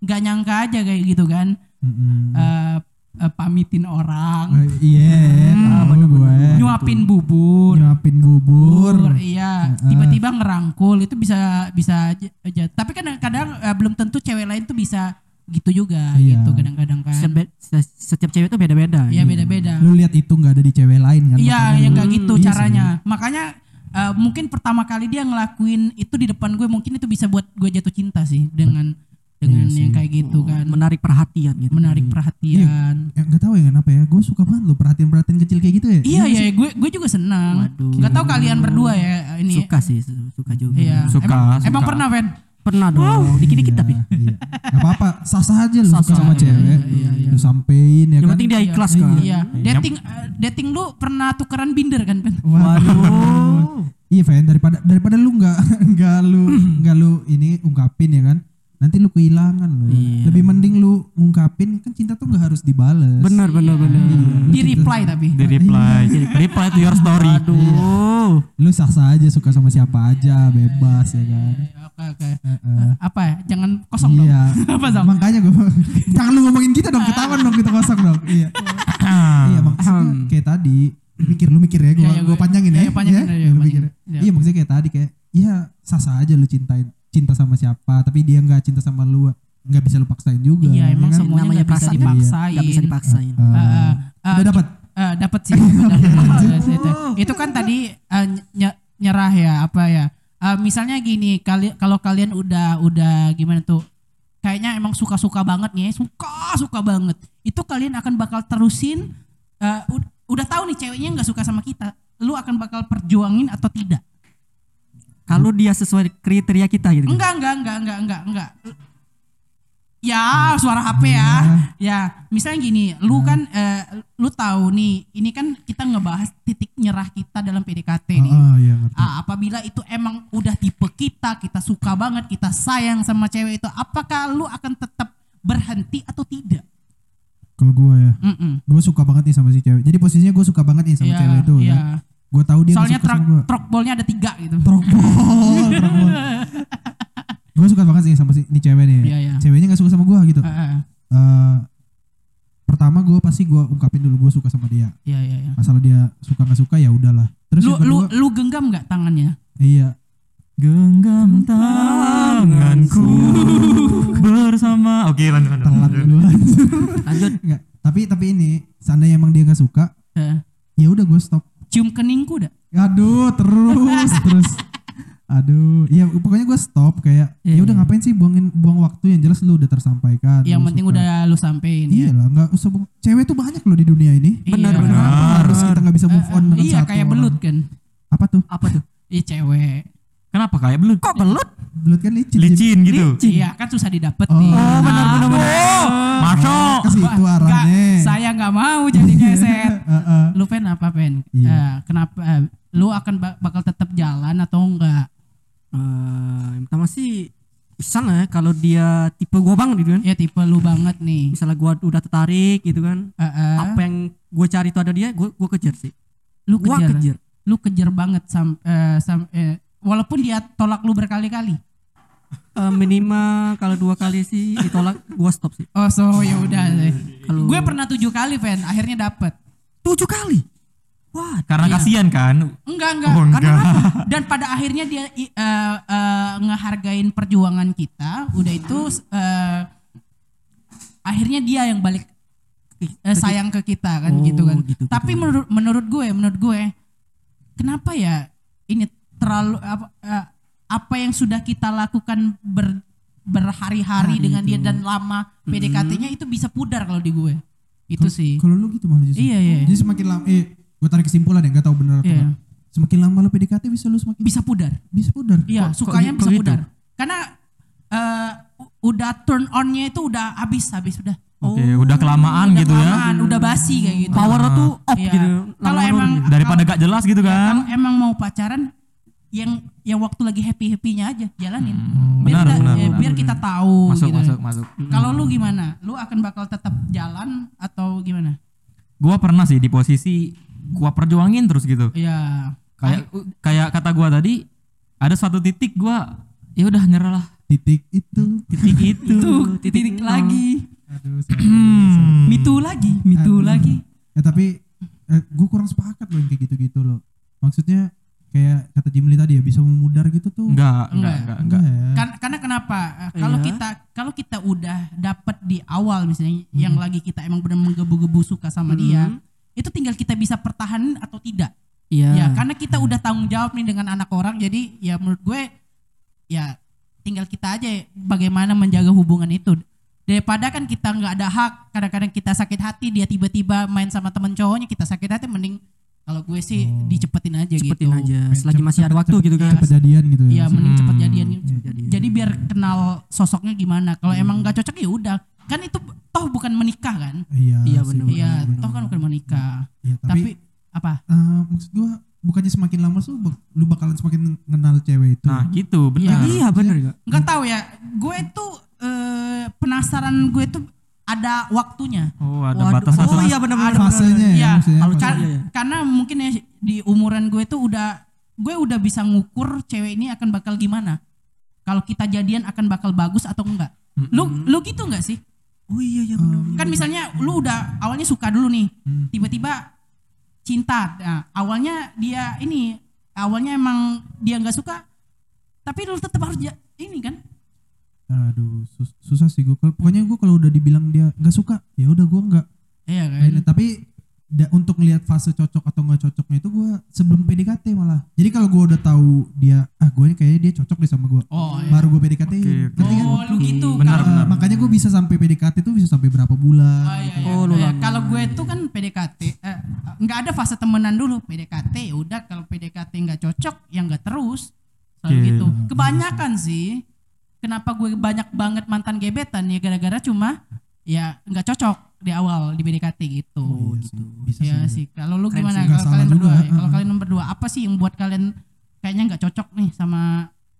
Speaker 1: nggak nyangka aja kayak gitu kan.
Speaker 2: Mm-mm.
Speaker 1: Eh, eh, pamitin orang, eh,
Speaker 2: Eh, Iya, tahu gue.
Speaker 1: Hmm. nyuapin bubur.
Speaker 2: Nyuapin bubur.
Speaker 1: Bubur, iya tiba-tiba ngerangkul itu bisa bisa aja, aja. tapi kadang kadang eh, belum tentu cewek lain tuh bisa gitu juga
Speaker 2: Iya.
Speaker 1: gitu kadang-kadang kan
Speaker 4: Setiap, be- se- setiap cewek tuh beda-beda.
Speaker 1: iya
Speaker 4: gitu.
Speaker 1: beda-beda
Speaker 2: Lu lihat itu nggak ada di cewek lain kan?
Speaker 1: iya
Speaker 2: makanya
Speaker 1: yang
Speaker 2: lu-
Speaker 1: kayak gitu
Speaker 2: Iya sih.
Speaker 1: caranya makanya eh, mungkin pertama kali dia ngelakuin itu di depan gue mungkin itu bisa buat gue jatuh cinta sih dengan dengan yang kayak gitu kan
Speaker 4: Oh, Menarik perhatian gitu.
Speaker 1: menarik perhatian
Speaker 2: Ya, nggak tahu ya kenapa ya. Gue suka banget lo perhatian-perhatian kecil kayak gitu ya.
Speaker 1: iya iya gue gue juga senang
Speaker 4: Waduh.
Speaker 1: nggak tahu kalian berdua ya ini
Speaker 4: Suka sih, su- suka juga.
Speaker 1: iya
Speaker 3: Suka,
Speaker 1: emang,
Speaker 3: suka.
Speaker 1: emang pernah Ven
Speaker 4: Pernah dong, dikit-dikit tapi.
Speaker 2: Iya. Gak apa-apa, sah-sah aja lu suka
Speaker 4: Sah-sah,
Speaker 2: sama
Speaker 4: iya,
Speaker 2: cewek. Lu sampein ya
Speaker 4: Yang
Speaker 2: kan.
Speaker 4: penting dia ikhlas kan.
Speaker 1: Iya, dating eh, dating lu pernah tukeran binder kan, Pen?
Speaker 4: Waduh.
Speaker 2: Iya, Fen, daripada daripada lu nggak nggak lu nggak lu ini ungkapin ya kan. Nanti lu kehilangan lo. Lebih mending lu ungkapin kan cinta tuh nggak harus dibales.
Speaker 4: Benar, benar, benar.
Speaker 1: Di reply tapi.
Speaker 3: Di reply. reply to your story.
Speaker 4: Aduh.
Speaker 2: Lu sah-sah aja suka sama siapa aja, bebas ya kan.
Speaker 1: Eh, Oke, oke. Eh, Apa ya? Jangan kosong dong.
Speaker 2: Iya.
Speaker 1: Apa dong?
Speaker 2: Makanya gue jangan lu ngomongin kita dong, ketahuan dong kita kosong dong. Iya. iya maksudnya kayak tadi lu mikir lu mikir ya
Speaker 1: Hmm.
Speaker 2: gue
Speaker 1: Iya, iya,
Speaker 2: gue
Speaker 1: gua-
Speaker 2: panjangin
Speaker 1: iya,
Speaker 2: ya.
Speaker 1: iya, panjangin aja,
Speaker 2: lu
Speaker 1: panjangin.
Speaker 2: mikir.
Speaker 1: Iya.
Speaker 2: Iya maksudnya kayak tadi kayak ya sah-sah aja lu cintain cinta sama siapa tapi dia nggak cinta sama lu nggak bisa lu paksain juga.
Speaker 1: Iya,
Speaker 2: ya
Speaker 1: emang
Speaker 2: kan?
Speaker 1: semuanya
Speaker 4: Namanya
Speaker 1: nggak bisa
Speaker 4: perasaan. Iya.
Speaker 1: dipaksain.
Speaker 4: Gak bisa dipaksain.
Speaker 2: Eh,
Speaker 1: Eh, eh,
Speaker 2: udah dapat.
Speaker 1: eh, dapat sih. dapat, dapat, dapat. Itu kan tadi eh, ny- nyerah ya, apa ya? Eh, misalnya gini, kali kalau kalian udah udah gimana tuh? Kayaknya emang suka-suka banget nih, suka suka banget itu kalian akan bakal terusin eh, ud- udah tahu nih ceweknya nggak suka sama kita lu akan bakal perjuangin atau tidak
Speaker 4: Kalau dia sesuai kriteria kita gitu.
Speaker 1: enggak enggak enggak enggak enggak enggak ya suara HP
Speaker 2: Iya.
Speaker 1: ya ya misalnya gini lu kan eh, lu tahu nih ini kan kita ngebahas titik nyerah kita dalam PDKT nih
Speaker 2: Ah, iya ngerti.
Speaker 1: Ah, apabila itu emang udah tipe kita, kita suka banget, kita sayang sama cewek itu, apakah lu akan tetap berhenti atau tidak?
Speaker 2: Kalau gue ya,
Speaker 1: Mm-mm.
Speaker 2: gue suka banget nih sama si cewek. Jadi posisinya gue suka banget nih sama
Speaker 1: Iya,
Speaker 2: cewek itu.
Speaker 1: iya.
Speaker 2: Kan? Gue tahu dia nggak
Speaker 1: Soalnya
Speaker 2: suka
Speaker 1: truk
Speaker 2: sama gue.
Speaker 1: truk bolnya ada tiga
Speaker 2: [LAUGHS]
Speaker 1: gitu.
Speaker 2: Trokbol, trokbol. gue suka banget sih sama si ini cewek nih.
Speaker 1: Iya, Ah. iya.
Speaker 2: Ceweknya nggak suka sama gue gitu.
Speaker 1: Heeh.
Speaker 2: Eh, pertama gue pasti gue ungkapin dulu gue suka sama dia.
Speaker 1: Iya iya iya.
Speaker 2: Masalah dia suka nggak suka ya udahlah. Terus
Speaker 1: Lu
Speaker 2: yang
Speaker 1: lu
Speaker 2: kedua,
Speaker 1: lu genggam nggak tangannya?
Speaker 2: iya
Speaker 3: Genggam tanganku bersama. Oke, lanjut lanjut.
Speaker 2: telat
Speaker 3: lanjut.
Speaker 2: dulu.
Speaker 4: Lanjut.
Speaker 2: [LAUGHS] Nggak, tapi tapi ini seandainya emang dia nggak suka,
Speaker 1: Heeh.
Speaker 2: ya udah gue stop.
Speaker 1: Cium keningku dah.
Speaker 2: Aduh, terus [LAUGHS] terus. Aduh, ya pokoknya gue stop kayak
Speaker 1: Iya,
Speaker 2: ya udah ngapain sih buangin buang waktu yang jelas lu udah tersampaikan.
Speaker 1: Yang
Speaker 2: lu
Speaker 1: penting
Speaker 2: suka.
Speaker 1: udah lu sampein ya.
Speaker 2: Iya lah, nggak usah bohong. Cewek tuh banyak loh di dunia ini.
Speaker 1: Iya. Benar,
Speaker 2: Kenapa
Speaker 3: benar.
Speaker 2: Harus kita nggak bisa move on dengan
Speaker 1: Iya
Speaker 2: satu
Speaker 1: kayak
Speaker 2: orang?
Speaker 1: belut kan.
Speaker 2: Apa tuh?
Speaker 1: Apa tuh? Iya cewek.
Speaker 3: Kenapa kayak belut? Kok belut?
Speaker 2: Belut kan licin.
Speaker 3: Licin gitu.
Speaker 1: Iya kan susah didapet nih.
Speaker 3: Oh, benar benar benar. Masuk.
Speaker 2: Ke situ
Speaker 1: Nggak,
Speaker 2: arahnya.
Speaker 1: saya nggak mau jadi keset.
Speaker 2: Heeh.
Speaker 1: lu pen apa pen
Speaker 2: Iya.
Speaker 1: Eh, kenapa eh, lu akan ba- bakal tetap jalan atau enggak
Speaker 4: Eh, yang pertama sih bisa lah ya kalau dia tipe gua banget gitu kan.
Speaker 1: ya tipe lu banget nih
Speaker 4: Misalnya gua udah tertarik gitu kan.
Speaker 1: Eh, eh,
Speaker 4: Apa yang gua cari itu ada dia, gua gua kejar sih.
Speaker 1: lu
Speaker 4: Gua
Speaker 1: kejar,
Speaker 4: kejar.
Speaker 1: lu kejar banget sam, eh, sam- eh, walaupun dia tolak lu berkali-kali
Speaker 4: Eh, minimal kalau dua kali sih ditolak gua stop sih.
Speaker 1: oh so ya udah
Speaker 4: Kalau-
Speaker 1: gue pernah tujuh kali pen akhirnya dapet
Speaker 4: Tujuh kali. Wah,
Speaker 3: Karena kasihan kan.
Speaker 1: enggak enggak
Speaker 3: Oh,
Speaker 4: [LAUGHS]
Speaker 3: enggak.
Speaker 1: dan pada akhirnya dia i- eh, eh, ngehargain perjuangan kita udah itu eh, akhirnya dia yang balik eh, sayang ke kita kan
Speaker 4: Oh,
Speaker 1: gitu kan
Speaker 4: gitu, gitu.
Speaker 1: tapi menurut menurut gue menurut gue kenapa ya ini terlalu apa eh, apa yang sudah kita lakukan ber- berhari-hari dengan dia dan lama PDKT-nya itu bisa pudar kalau di gue itu sih
Speaker 2: Kalau lu gitu malah justru.
Speaker 1: Iya, iya.
Speaker 2: Jadi semakin lama eh gue tarik kesimpulan ya, nggak tahu benar apa
Speaker 1: Iya.
Speaker 2: enggak. Semakin lama lu PDKT bisa lu semakin
Speaker 1: bisa pudar
Speaker 2: bisa pudar.
Speaker 1: Iya,
Speaker 4: Kok-
Speaker 1: sukanya
Speaker 4: kok
Speaker 1: bisa
Speaker 4: gitu?
Speaker 1: pudar. Karena eh, u- udah turn on-nya itu udah habis habis udah. Oh,
Speaker 3: Oke, udah kelamaan
Speaker 1: udah
Speaker 3: gitu ya.
Speaker 1: kelamaan, udah basi kayak gitu.
Speaker 4: power tuh off
Speaker 1: Iya.
Speaker 4: gitu.
Speaker 1: Kalau
Speaker 4: Lama
Speaker 1: emang
Speaker 4: turun.
Speaker 3: Daripada gak jelas gitu
Speaker 1: kalau
Speaker 3: kan.
Speaker 1: emang mau pacaran yang yang waktu lagi happy-happynya aja jalanin. biar
Speaker 3: Hmm, benar,
Speaker 1: kita,
Speaker 3: benar,
Speaker 1: eh,
Speaker 3: benar.
Speaker 1: biar kita tahu
Speaker 3: Masuk
Speaker 1: gitu.
Speaker 3: masuk Hmm. masuk.
Speaker 1: Kalau lu gimana? Lu akan bakal tetap jalan atau gimana?
Speaker 3: Gua pernah sih di posisi gua perjuangin terus gitu.
Speaker 1: Ya.
Speaker 3: Kayak kayak kata gua tadi ada suatu titik gua ya udah nyerah lah.
Speaker 2: Titik itu.
Speaker 3: Titik itu.
Speaker 1: Tuh, titik lagi.
Speaker 2: Aduh, sorry.
Speaker 1: Mitu lagi, mitu lagi.
Speaker 2: Ya tapi eh, gue kurang sepakat loh yang kayak gitu-gitu loh. Maksudnya kayak kata Jimli tadi ya bisa memudar gitu tuh.
Speaker 1: Enggak.
Speaker 3: Enggak, enggak, enggak, enggak.
Speaker 2: ya.
Speaker 1: Kan- karena kenapa? Eh, Kalau
Speaker 4: Hmm. Iya.
Speaker 1: kita kalau kita udah dapat di awal misalnya yang
Speaker 4: Hmm.
Speaker 1: lagi kita emang benar menggebu-gebu suka sama dia, itu tinggal kita bisa pertahanin atau tidak.
Speaker 4: Iya.
Speaker 1: Ya, karena kita udah tanggung jawab nih dengan anak orang, jadi ya menurut gue ya tinggal kita aja ya bagaimana menjaga hubungan itu. Daripada kan kita nggak ada hak, kadang-kadang kita sakit hati dia tiba-tiba main sama temen cowoknya kita sakit hati mending kalau gue sih dicepetin aja
Speaker 4: Oh. cepetin
Speaker 1: gitu.
Speaker 4: aja
Speaker 2: Main
Speaker 4: selagi
Speaker 2: cepet-
Speaker 4: masih ada
Speaker 2: cepet-
Speaker 4: waktu
Speaker 2: cepet-
Speaker 4: gitu kan.
Speaker 2: Cepet jadian gitu
Speaker 1: Iya
Speaker 2: ya. maksudnya.
Speaker 1: mending cepet jadian.
Speaker 4: jadian.
Speaker 1: Jadi biar kenal sosoknya gimana. Kalau emang nggak cocok ya udah. Kan itu b- toh bukan menikah kan?
Speaker 2: Iya.
Speaker 4: Iya,
Speaker 2: sih,
Speaker 4: bener-bener.
Speaker 1: Iya,
Speaker 2: bener-bener.
Speaker 1: toh kan bukan menikah.
Speaker 2: Iya,
Speaker 1: Tapi,
Speaker 2: tapi,
Speaker 1: apa?
Speaker 2: eh, maksud gue bukannya semakin lama tuh bak- lu bakalan semakin kenal cewek itu.
Speaker 3: Nah, gitu, benar.
Speaker 4: Iya bener gak?
Speaker 1: Nggak tahu ya. Gue tuh eh, penasaran gue tuh ada waktunya.
Speaker 3: Oh, ada
Speaker 4: Waduh,
Speaker 3: batasan.
Speaker 4: Oh iya bener-bener.
Speaker 2: fasenya ya,
Speaker 1: Iya.
Speaker 2: maksudnya
Speaker 1: Kalau
Speaker 2: fase-
Speaker 1: kar-
Speaker 4: iya, iya.
Speaker 1: karena mungkin ya di umuran gue tuh udah gue udah bisa ngukur cewek ini akan bakal gimana. Kalau kita jadian akan bakal bagus atau enggak. Lu lu gitu enggak sih?
Speaker 4: Oh iya iya bener.
Speaker 1: kan misalnya lu udah awalnya suka dulu nih tiba-tiba cinta Nah, awalnya dia ini awalnya emang dia nggak suka tapi lu tetap harus ja- ini kan
Speaker 2: Aduh, sus- susah sih gue. Kalau pokoknya gue kalau udah dibilang dia nggak suka, ya udah gue nggak.
Speaker 1: iya
Speaker 2: Nah, ini- tapi da- untuk lihat fase cocok atau nggak cocoknya itu gue sebelum PDKT malah. Jadi kalau gue udah tahu dia ah gue kayaknya dia cocok deh sama gue.
Speaker 1: Oh, iya.
Speaker 2: baru gue PDKT.
Speaker 3: Oke, oke.
Speaker 1: Oh, lu gitu kalau-
Speaker 3: Benar, benar.
Speaker 2: kan? makanya gue bisa sampai PDKT tuh bisa sampai berapa bulan.
Speaker 1: Oh, iya, iya.
Speaker 4: Oh, lu
Speaker 1: Iya,
Speaker 4: lama.
Speaker 1: Kalau gue tuh kan PDKT eh, nggak ada fase temenan dulu PDKT ya udah kalau PDKT nggak cocok ya nggak terus Selalu
Speaker 3: Oke.
Speaker 1: gitu. Kebanyakan sih kenapa gue banyak banget mantan gebetan ya gara-gara cuma ya nggak cocok di awal di PDKT gitu.
Speaker 2: Oh, iya sih. Bisa
Speaker 1: ya sih.
Speaker 2: sih.
Speaker 1: Kalau lu
Speaker 2: Keren
Speaker 1: gimana
Speaker 2: sih, nggak
Speaker 1: kalau kalian
Speaker 2: salah juga.
Speaker 1: berdua? ya? Kalau
Speaker 2: Heeh.
Speaker 1: kalian berdua apa sih yang buat kalian kayaknya nggak cocok nih sama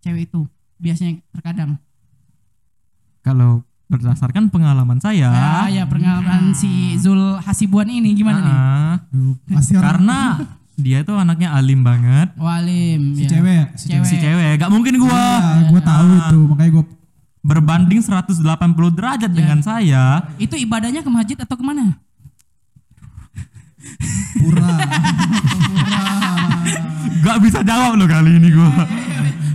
Speaker 1: cewek itu? Biasanya terkadang.
Speaker 3: Kalau berdasarkan pengalaman saya,
Speaker 1: Ah, ya pengalaman si Zul Hasibuan ini gimana nih?
Speaker 3: ah,
Speaker 2: Aduh, pasti orang
Speaker 3: karena dia itu anaknya alim banget.
Speaker 1: Walim
Speaker 2: si
Speaker 1: ya.
Speaker 2: cewek ya? Si
Speaker 1: Cewek.
Speaker 3: Si iya. cewek, gak mungkin gua
Speaker 2: Ah, gue tahu itu makanya gue
Speaker 3: berbanding 180 derajat dengan saya.
Speaker 1: Itu ibadahnya ke masjid atau kemana?
Speaker 2: pura.
Speaker 3: [LAUGHS] Gak bisa jawab lo kali ini gua.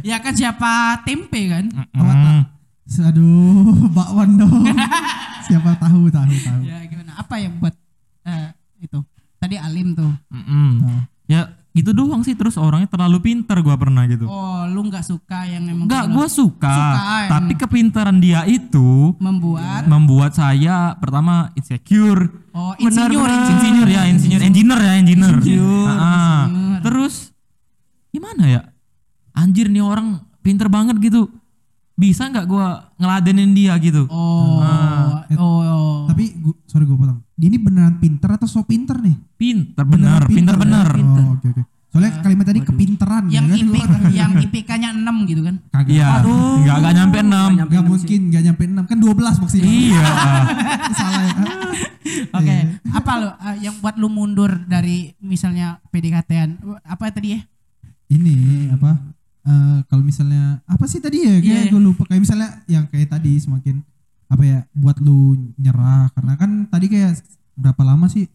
Speaker 1: Ya kan siapa tempe kan?
Speaker 3: Hmm.
Speaker 2: Aduh, bakwan dong. Siapa tahu tahu tahu.
Speaker 1: Ya gimana? Apa yang buat eh, itu? Tadi alim tuh.
Speaker 3: Hmm, Mm-mm.
Speaker 2: Nah.
Speaker 3: Ya gitu doang sih terus orangnya terlalu pinter gua pernah gitu.
Speaker 1: Oh, lu nggak suka yang emang
Speaker 3: Enggak,
Speaker 1: kalau
Speaker 3: gua suka,
Speaker 1: Suka, ya.
Speaker 3: tapi kepintaran dia itu
Speaker 1: membuat
Speaker 3: membuat saya pertama insecure.
Speaker 1: Oh,
Speaker 3: Benar,
Speaker 1: insinyur,
Speaker 3: benar.
Speaker 1: insinyur.
Speaker 3: insinyur ya, insinyur, engineer ya, engineer. Ah, Terus gimana ya? Anjir nih orang pinter banget gitu. Bisa nggak gua ngeladenin dia gitu?
Speaker 1: oh, oh, oh.
Speaker 2: Tapi gua- sorry gue potong. Dia ini beneran pinter atau so pinter nih?
Speaker 3: Pinter bener, pinter bener.
Speaker 2: Oh, oke oke. Soalnya kalimat tadi kepinteran
Speaker 1: yang
Speaker 2: ya kan?
Speaker 1: IP,
Speaker 2: Gua-
Speaker 1: yang IPK-nya 6 gitu kan.
Speaker 2: Kagak.
Speaker 3: Iya, nggak nggak nyampe enam.
Speaker 4: Nggak nyampe.
Speaker 2: Gak mungkin, gak nyampe 6 kan 12 maksudnya.
Speaker 3: Iya.
Speaker 2: Salah ya.
Speaker 1: Oke, apa lu eh, yang buat lu mundur dari misalnya PDKT-an? Apa tadi ya?
Speaker 2: Ini apa? eh, kalau misalnya apa sih tadi ya?
Speaker 1: Hmm. Iya.
Speaker 2: Kayak gue lupa. Kayak misalnya yang kayak tadi semakin apa ya? Buat lu nyerah karena kan tadi kayak berapa lama sih?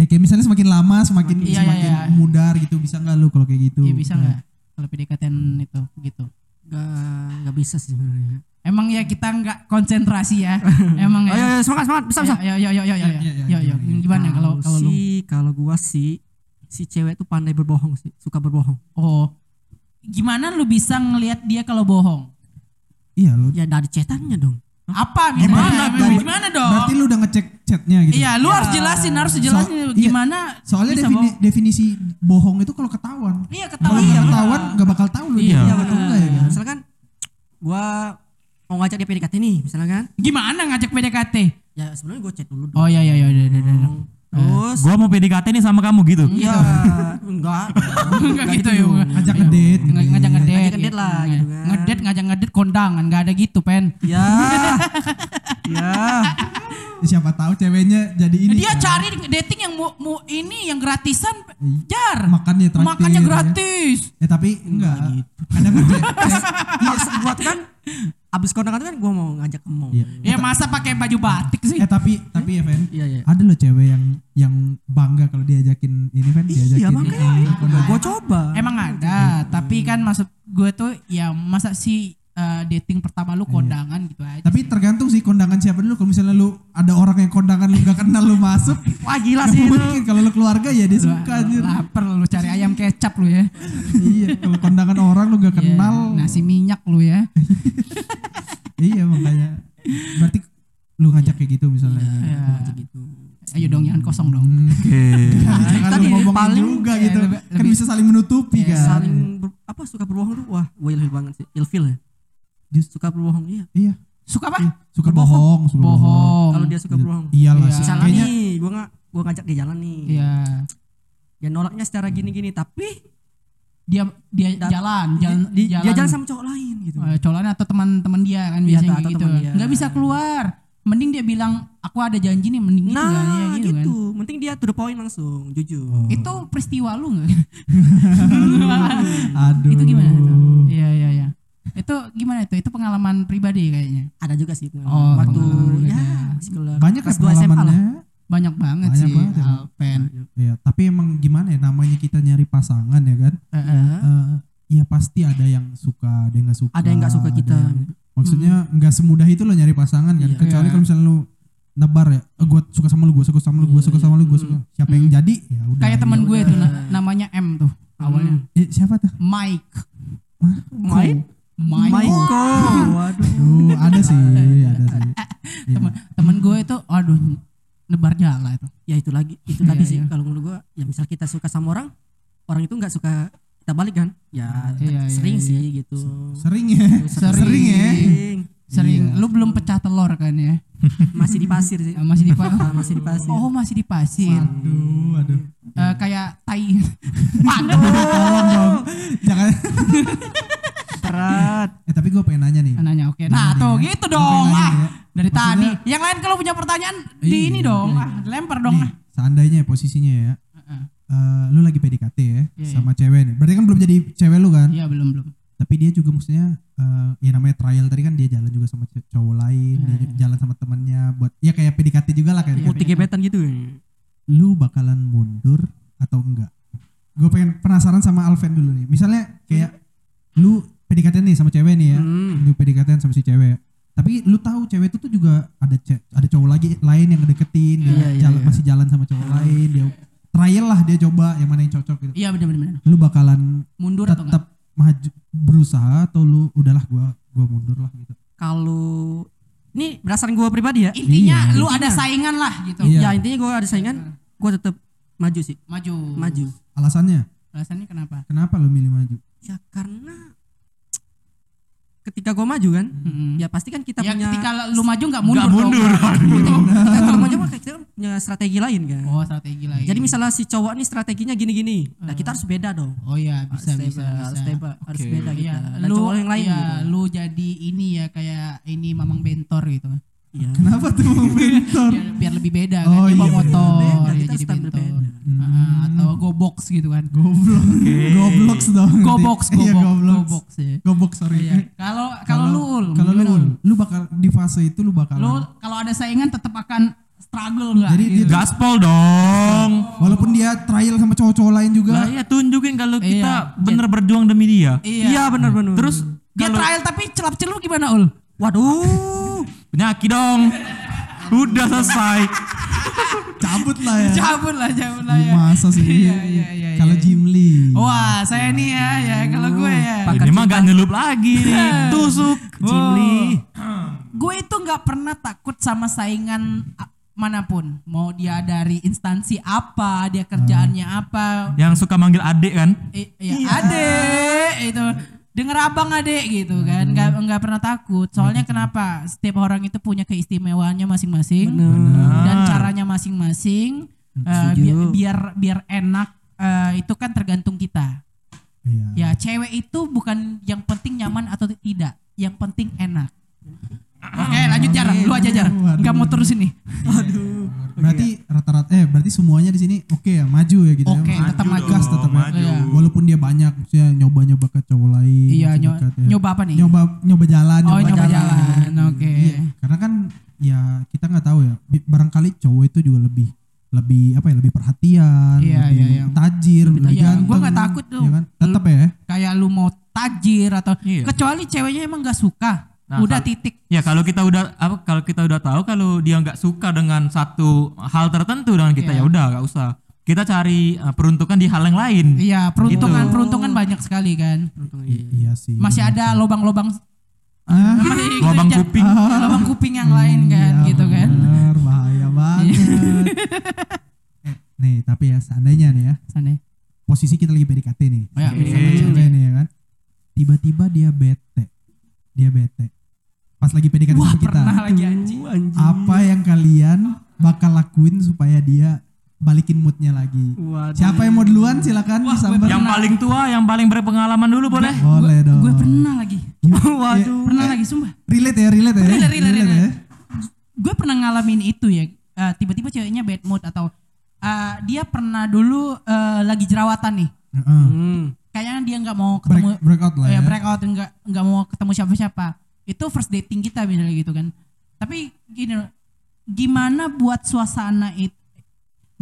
Speaker 2: Eh kayak misalnya semakin lama semakin
Speaker 1: Semakin- iya,
Speaker 2: semakin
Speaker 1: iya, iya.
Speaker 2: mudar gitu bisa nggak lu kalau kayak gitu?
Speaker 1: Ya bisa nggak kalau PDKT-an itu gitu.
Speaker 4: Nggak nggak bisa sih sebenarnya.
Speaker 1: Emang ya kita nggak konsentrasi ya. Emang ya.
Speaker 4: Ayo, ayo, semangat, semangat, bisa, bisa.
Speaker 1: Ya, ya, ya, ya, ya, ya,
Speaker 2: Ya, ya,
Speaker 1: ya, ya. Gimana kalau kalau lu?
Speaker 4: sih, kalau gua sih si cewek tuh pandai berbohong sih, suka berbohong.
Speaker 1: Oh, gimana lu bisa ngelihat dia kalau bohong?
Speaker 2: Iya lu.
Speaker 4: Ya dari cetannya dong.
Speaker 1: Apa gimana? Gimana, Iya dong?
Speaker 2: Berarti lu udah ngecek chatnya gitu.
Speaker 1: Iya, lu harus jelasin, harus jelasin
Speaker 2: So- iya.
Speaker 1: gimana.
Speaker 2: Soalnya
Speaker 1: bisa
Speaker 2: defini-
Speaker 1: bohong.
Speaker 2: definisi bohong itu kalau ketahuan.
Speaker 1: Iya
Speaker 2: Kalau
Speaker 1: ketahuan.
Speaker 2: nggak
Speaker 1: Iya,
Speaker 2: ketahuan nggak bakal tahu lu
Speaker 3: Iya.
Speaker 2: dia betul nggak ya kan.
Speaker 4: Misalkan gua mau ngajak dia PDKT nih, misalnya kan.
Speaker 1: Gimana ngajak PDKT?
Speaker 4: Ya sebelumnya gua chat dulu dong.
Speaker 1: Oh iya iya iya udah udah udah.
Speaker 2: Hmm.
Speaker 4: Terus
Speaker 3: Gua mau PDKT nih sama kamu gitu.
Speaker 2: Ya.
Speaker 4: Iya, enggak.
Speaker 1: Enggak gitu ya. gua.
Speaker 2: Ajak ngedate.
Speaker 1: Nge- Ngajak ngedate. gitu ya. Iya.
Speaker 2: ngedate.
Speaker 4: Ngajak ngedate lah, gitu kan.
Speaker 1: Ngedate ngajak ngedate kondangan, enggak ada gitu, Pen.
Speaker 4: Ya. Ya.
Speaker 2: Ya Siapa tahu ceweknya jadi ini.
Speaker 1: Dia
Speaker 2: kan.
Speaker 1: cari dating yang mau, mau ini yang gratisan, jar.
Speaker 2: Makannya traktir,
Speaker 1: Iya. Makannya gitu
Speaker 2: ya.
Speaker 1: gratis.
Speaker 2: Ya tapi enggak.
Speaker 1: gitu.
Speaker 2: Kadang
Speaker 1: [LAUGHS]
Speaker 2: aja.
Speaker 4: Maksud gua tuh kan abis kondangan tuh kan gua mau ngajak ke mall.
Speaker 2: Iya.
Speaker 1: Ya masa pakai baju batik sih?
Speaker 2: Eh tapi tapi ya Fen,
Speaker 4: Iya, iya.
Speaker 2: ada loh cewek yang yang bangga kalau diajakin ini Fen, diajakin. eh,
Speaker 4: Iya, makanya. Gua coba.
Speaker 1: Emang ada, tapi kan maksud gue tuh ya masa sih eh, dating pertama lu
Speaker 4: Iya.
Speaker 1: kondangan gitu aja.
Speaker 2: Tapi tergantung sih kondangan siapa dulu. Kalau misalnya lu ada orang yang kondangan lu gak kenal lu
Speaker 4: [LAUGHS]
Speaker 2: masuk,
Speaker 4: Wah, gila
Speaker 2: gak
Speaker 4: sih itu.
Speaker 2: mungkin. Kalau lu keluarga ya dia
Speaker 1: Lu-
Speaker 2: suka anjir.
Speaker 1: Lapar lu cari ayam kecap lu ya.
Speaker 2: iya, kalau kondangan orang lu gak kenal.
Speaker 1: Ya, nasi minyak lu ya.
Speaker 2: Iya makanya. Berarti lu ngajak kayak gitu misalnya.
Speaker 4: Iya,
Speaker 2: Hmm.
Speaker 1: Ya.
Speaker 4: gitu.
Speaker 1: Ayo dong jangan kosong dong.
Speaker 3: Oke.
Speaker 2: Jangan lu
Speaker 4: Tadi
Speaker 2: ngomongin
Speaker 4: paling-
Speaker 2: juga
Speaker 1: ya,
Speaker 2: gitu.
Speaker 1: lebih- Iya,
Speaker 2: kan bisa saling menutupi kan.
Speaker 4: saling ber- apa suka berbohong tuh wah gue ilfil banget sih ilfil ya dia suka berbohong iya
Speaker 2: Iya.
Speaker 1: Suka apa?
Speaker 2: iya. Suka bohong, suka bohong.
Speaker 1: Bohong.
Speaker 4: kalau dia suka berbohong
Speaker 2: Iyalah
Speaker 1: Iya.
Speaker 2: sih.
Speaker 4: misalnya
Speaker 2: Kayaknya
Speaker 4: nih gue nggak gue ngajak dia jalan nih
Speaker 1: Iya.
Speaker 4: ya nolaknya secara
Speaker 1: Hmm.
Speaker 4: gini-gini tapi
Speaker 1: Dia dia
Speaker 4: Dan-
Speaker 1: jalan, jalan,
Speaker 4: di- dia jalan sama cowok lain gitu
Speaker 1: Eh, colan atau teman-teman dia kan
Speaker 4: Iya,
Speaker 1: biasanya
Speaker 4: atau- atau
Speaker 1: gitu.
Speaker 4: teman dia.
Speaker 1: Nggak bisa keluar. Mending dia bilang aku ada janji nih mending gitu kan, ya,
Speaker 4: nah gitu,
Speaker 1: kan. Oh.
Speaker 4: penting dia to the point langsung jujur
Speaker 1: Itu peristiwa lu
Speaker 4: [LAUGHS]
Speaker 1: nggak? [LAUGHS]
Speaker 4: Iya.
Speaker 2: aduh.
Speaker 1: itu gimana itu?
Speaker 2: Hmm.
Speaker 1: Iya iya iya. Itu gimana itu? Itu pengalaman pribadi kayaknya.
Speaker 4: ada juga sih
Speaker 1: Oh,
Speaker 4: pengalaman. waktu
Speaker 1: pengalaman juga
Speaker 4: ya
Speaker 1: ada.
Speaker 4: masih keluar.
Speaker 2: Banyak
Speaker 4: Kelas
Speaker 2: ya
Speaker 4: dua SMA lah.
Speaker 2: pengalamannya.
Speaker 1: Banyak banget
Speaker 2: Banyak
Speaker 1: sih
Speaker 2: banget ya.
Speaker 1: Alpen.
Speaker 2: Iya, tapi emang gimana ya namanya kita nyari pasangan ya kan?
Speaker 1: Heeh.
Speaker 2: Eh, ya pasti ada yang suka, ada yang nggak suka.
Speaker 4: ada yang nggak suka
Speaker 2: ada
Speaker 4: kita
Speaker 2: yang- maksudnya nggak semudah itu loh nyari pasangan kan.
Speaker 4: Iya.
Speaker 2: Kecuali
Speaker 1: Iya.
Speaker 2: kalau misalnya lu nebar ya eh, gue suka sama lu gue suka sama lu gue suka sama lu gue suka siapa yang jadi ya udah
Speaker 1: Kayak teman gue tuh na- namanya M tuh awalnya.
Speaker 2: Eh, siapa tuh
Speaker 1: Mike.
Speaker 4: Mike?
Speaker 1: Mike.
Speaker 4: Michael. Waduh.
Speaker 2: Duh, ada sih ada sih Iya.
Speaker 1: Temen, temen gue itu aduh nebar jala itu.
Speaker 4: Ya itu lagi, itu
Speaker 1: Iya,
Speaker 4: tadi sih kalau menurut gua ya misal kita suka sama orang, orang itu nggak suka kita balik kan? Ya
Speaker 1: Iya, iya,
Speaker 4: sering
Speaker 1: iya.
Speaker 4: sih gitu.
Speaker 2: sering ya
Speaker 1: Sering ya.
Speaker 4: Sering.
Speaker 2: Iya.
Speaker 1: Sering lu belum pecah telur kan ya?
Speaker 4: Masih di pasir sih.
Speaker 1: Eh,
Speaker 2: [LAUGHS]
Speaker 1: Masih di pa-
Speaker 4: Masih di pasir.
Speaker 1: Oh, masih di pasir.
Speaker 2: aduh aduh
Speaker 1: Eh, kayak
Speaker 2: [LAUGHS]
Speaker 1: tai. Waduh.
Speaker 2: tolong dong jangan
Speaker 4: Berat.
Speaker 2: eh tapi gue pengen nanya nih
Speaker 1: Nanya oke. Nah,
Speaker 2: Nanya
Speaker 1: tuh
Speaker 2: ya.
Speaker 1: gitu
Speaker 2: Gua
Speaker 1: dong.
Speaker 2: pengen
Speaker 1: Ah,
Speaker 2: nanya ya.
Speaker 1: dari tadi.
Speaker 2: Maksudnya-
Speaker 1: Yang lain kalau punya pertanyaan di
Speaker 2: Iya,
Speaker 1: ini dong.
Speaker 2: iya,
Speaker 1: Ah, lempar dong.
Speaker 2: Nih,
Speaker 1: ah.
Speaker 2: seandainya ya posisinya ya
Speaker 1: Heeh.
Speaker 2: eh, lu lagi PDKT ya
Speaker 1: Iya,
Speaker 2: sama cewek nih berarti kan belum jadi cewek lu kan
Speaker 1: Iya, belum belum.
Speaker 2: tapi dia juga maksudnya eh, ya namanya trial tadi kan dia jalan juga sama ce- cowok lain
Speaker 1: Iya,
Speaker 2: dia jalan sama temannya buat ya kayak PDKT juga lah kayak
Speaker 4: Putih gebetan gitu.
Speaker 2: lu bakalan mundur atau enggak gue pengen penasaran sama Alven dulu nih misalnya kayak lu PDKT nih sama cewek nih ya
Speaker 4: Hmm.
Speaker 2: lu PDKT sama si cewek tapi lu tahu cewek itu tuh juga ada ce- ada cowok lagi lain yang ngedeketin dia
Speaker 4: Iya, iya,
Speaker 2: jalan,
Speaker 4: iya.
Speaker 2: masih jalan sama cowok lain dia trial lah dia coba yang mana yang cocok gitu
Speaker 1: Iya, benar benar. benar.
Speaker 2: lu bakalan
Speaker 1: Mundur atau enggak?
Speaker 2: tetap maju berusaha atau lu udahlah gua gua mundur lah gitu
Speaker 4: Kalau ini berdasarkan gua pribadi ya.
Speaker 1: Intinya
Speaker 2: Iya.
Speaker 1: lu ada saingan lah gitu.
Speaker 2: Iya.
Speaker 4: Ya intinya gua ada saingan, gua tetap maju sih.
Speaker 1: Maju.
Speaker 4: Maju.
Speaker 2: alasannya
Speaker 1: Alasannya kenapa?
Speaker 2: kenapa lu milih maju [LAUGHS]
Speaker 4: Ya karena ketika gua maju kan, ya pasti kan kita
Speaker 1: ya
Speaker 4: punya
Speaker 1: ketika lu maju nggak mundur.
Speaker 3: Nggak mundur.
Speaker 4: kita kalau maju mah kita kan punya strategi lain kan.
Speaker 1: dong. Oh strategi lain.
Speaker 4: Jadi misalnya si cowok nih strateginya gini-gini, nah kita harus beda dong.
Speaker 1: Oh iya bisa
Speaker 4: harus
Speaker 1: bisa
Speaker 4: beda, harus
Speaker 1: bisa.
Speaker 4: beda, harus
Speaker 3: Oke.
Speaker 4: beda gitu.
Speaker 1: Iya,
Speaker 4: Dan
Speaker 1: lu
Speaker 4: cowok yang lain
Speaker 1: iya,
Speaker 4: gitu.
Speaker 1: lu jadi ini ya kayak ini Mamang Bentor gitu.
Speaker 4: Iya.
Speaker 2: kenapa tuh mentor
Speaker 1: Biar, biar lebih beda kan
Speaker 2: Oh,
Speaker 1: dia bawa
Speaker 2: iya.
Speaker 1: motor,
Speaker 4: Beda,
Speaker 1: dia
Speaker 4: kita
Speaker 1: jadi
Speaker 4: harus tampil
Speaker 1: bentor.
Speaker 4: beda.
Speaker 1: Heeh, atau gobox gitu kan. [LAUGHS]
Speaker 2: goblok goblok dong nanti.
Speaker 1: Gobox,
Speaker 2: Iya,
Speaker 1: gobox,
Speaker 2: goblok
Speaker 1: gobox ya.
Speaker 2: goblok sorry
Speaker 1: Iya. Kalau kalau lu Ul,
Speaker 2: kalau lu
Speaker 1: gimana,
Speaker 2: Ul, lu bakal di fase itu lu bakal
Speaker 1: Lu kalau ada saingan tetap akan struggle nggak?
Speaker 2: Jadi
Speaker 1: gitu.
Speaker 2: dia-
Speaker 3: Gaspol dong.
Speaker 2: walaupun dia trial sama cowok-cowok lain juga
Speaker 3: Lah ya tunjukin kalau
Speaker 1: Iya.
Speaker 3: kita bener berjuang demi dia.
Speaker 1: iya.
Speaker 4: Iya benar-benar.
Speaker 3: Terus
Speaker 1: dia
Speaker 3: kalau-
Speaker 1: trial tapi celap-celup gimana Ul?
Speaker 4: waduh,
Speaker 3: Penyaki dong. Udah selesai.
Speaker 2: cabut lah ya
Speaker 1: Cabut lah, cabut lah ya.
Speaker 2: masa sih
Speaker 1: [LAUGHS] Iya, iya, iya,
Speaker 2: kalau
Speaker 1: iya.
Speaker 2: Jim Lee
Speaker 1: Wah, saya nih ya, ya kalau gue ya.
Speaker 3: Ini mah gak nyelup
Speaker 1: [LAUGHS]
Speaker 3: lagi nih. Tusuk.
Speaker 1: Jimli. Gue itu nggak pernah takut sama saingan a- manapun. Mau dia dari instansi apa, dia kerjaannya apa.
Speaker 3: Yang suka manggil adik kan.
Speaker 1: Eh, ya adek itu denger abang adek gitu kan nggak nggak pernah takut soalnya kenapa setiap orang itu punya keistimewaannya masing-masing dan caranya masing-masing Eh, biar, biar biar enak eh, itu kan tergantung kita
Speaker 2: Iya.
Speaker 1: Ya, cewek itu bukan yang penting nyaman atau tidak, yang penting enak. Oke, lanjut jar, lu aja jar. Enggak mau terus ini.
Speaker 2: berarti rata-rata eh berarti semuanya di sini oke ya maju ya gitu
Speaker 1: Oke,
Speaker 2: ya Maksudnya
Speaker 1: tetap maju.
Speaker 2: gas tetap ya.
Speaker 3: Maju.
Speaker 1: Iya.
Speaker 2: walaupun dia banyak maksudnya nyoba-nyoba ke cowok lain
Speaker 1: Iya,
Speaker 2: masih
Speaker 1: nyo-
Speaker 2: dekat ya.
Speaker 1: nyoba apa nih?
Speaker 2: nyoba nyoba jalan
Speaker 1: Oh, nyoba jalan. Oke.
Speaker 2: Iya, karena kan ya kita nggak tahu ya bi- barangkali cowok itu juga lebih lebih apa ya lebih perhatian
Speaker 1: Iya,
Speaker 2: lebih
Speaker 1: iya, iya.
Speaker 2: tajir lebih,
Speaker 1: tajir.
Speaker 2: ganteng
Speaker 1: Gua nggak takut tuh.
Speaker 2: ya kan? tetap ya
Speaker 1: Kayak lu mau tajir atau
Speaker 3: Iya.
Speaker 1: kecuali ceweknya emang gak suka.
Speaker 3: Nah,
Speaker 1: Udah
Speaker 3: kalau-
Speaker 1: titik.
Speaker 3: Ya kalau kita udah apa kalau kita udah tahu kalau dia nggak suka dengan satu hal tertentu dengan kita
Speaker 1: Iya.
Speaker 3: ya udah nggak usah. Kita cari eh, peruntukan di hal yang lain.
Speaker 1: Iya,
Speaker 2: Gitu.
Speaker 1: peruntungan-peruntungan banyak sekali kan.
Speaker 2: I- iya sih
Speaker 1: Masih ada lobang-lobang
Speaker 2: [LAUGHS]
Speaker 1: Masih
Speaker 2: ah
Speaker 1: gitu,
Speaker 3: Lobang
Speaker 1: Jar.
Speaker 3: kuping.
Speaker 1: Iya, lobang kuping yang lain kan
Speaker 2: iya,
Speaker 1: gitu kan. Iya.
Speaker 2: bener,
Speaker 1: [LAUGHS]
Speaker 2: bahaya banget Eh, nih tapi ya seandainya nih ya [LAUGHS]
Speaker 1: Sana.
Speaker 2: posisi kita lagi PDKT nih
Speaker 1: Ya,
Speaker 2: sama
Speaker 1: PDKT.
Speaker 2: cewek nih ya kan tiba-tiba dia bete dia bete pas lagi PDKT sama kita
Speaker 1: Pernah lagi anjing.
Speaker 2: apa yang kalian bakal lakuin supaya dia balikin moodnya lagi
Speaker 4: Waduh.
Speaker 2: siapa yang mau duluan silakan disambar
Speaker 3: Yang paling tua, yang paling berpengalaman dulu boleh.
Speaker 2: boleh dong
Speaker 1: Gue pernah lagi.
Speaker 4: waduh.
Speaker 1: Pernah lagi sumpah.
Speaker 2: relate ya relate ya
Speaker 1: Relate, relate,
Speaker 2: ya
Speaker 1: relate. gue pernah ngalamin itu ya eh, tiba-tiba ceweknya bad mood atau eh, dia pernah dulu eh, lagi jerawatan nih
Speaker 2: Heeh.
Speaker 4: Hmm.
Speaker 1: kayaknya dia nggak mau
Speaker 2: break,
Speaker 1: ketemu
Speaker 2: breakout lah
Speaker 1: eh,
Speaker 2: ya,
Speaker 1: breakout nggak nggak mau ketemu siapa-siapa itu first dating kita misalnya gitu kan tapi gini loh, gimana buat suasana itu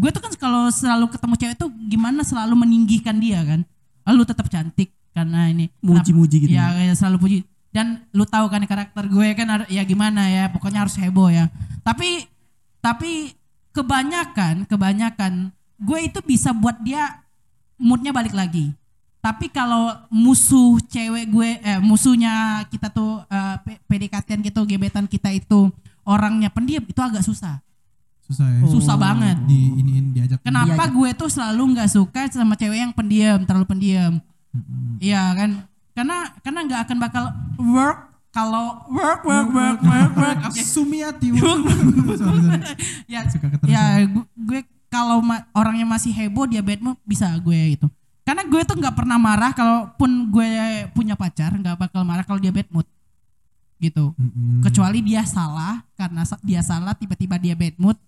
Speaker 1: gue tuh kan kalau selalu ketemu cewek tuh gimana selalu meninggikan dia kan "Ah, lu tetap cantik karena ini Kenapa-
Speaker 4: Muji-muji gitu.
Speaker 1: Ya, kayak selalu puji. Dan lu tahu kan karakter gue kan har- ya gimana ya, pokoknya harus heboh ya. Tapi Tapi kebanyakan, kebanyakan gue itu bisa buat dia moodnya balik lagi. Tapi kalau musuh cewek gue, eh, musuhnya kita tuh eh, P- PDKT-an gitu, gebetan kita itu orangnya pendiam, itu agak susah,
Speaker 2: susah ya
Speaker 1: susah
Speaker 4: Oh.
Speaker 1: banget.
Speaker 2: di iniin diajak
Speaker 1: Kenapa
Speaker 4: Diajak.
Speaker 1: gue tuh selalu nggak suka sama cewek yang pendiam, terlalu pendiam. Iya kan? Karena karena nggak akan bakal work kalau work work work work
Speaker 2: [LAUGHS]
Speaker 1: work. Oke.
Speaker 2: Sumiati
Speaker 1: Work,
Speaker 2: Sorry, sorry.
Speaker 1: [LAUGHS] ya,
Speaker 2: Suka keterusan.
Speaker 1: ya gu- gue kalau ma- orangnya masih heboh dia bad mood bisa gue gitu. Karena gue tuh nggak pernah marah kalaupun gue punya pacar nggak bakal marah kalau dia bad mood gitu.
Speaker 2: Mm-mm.
Speaker 1: Kecuali dia salah karena sa- dia salah tiba-tiba dia bad mood.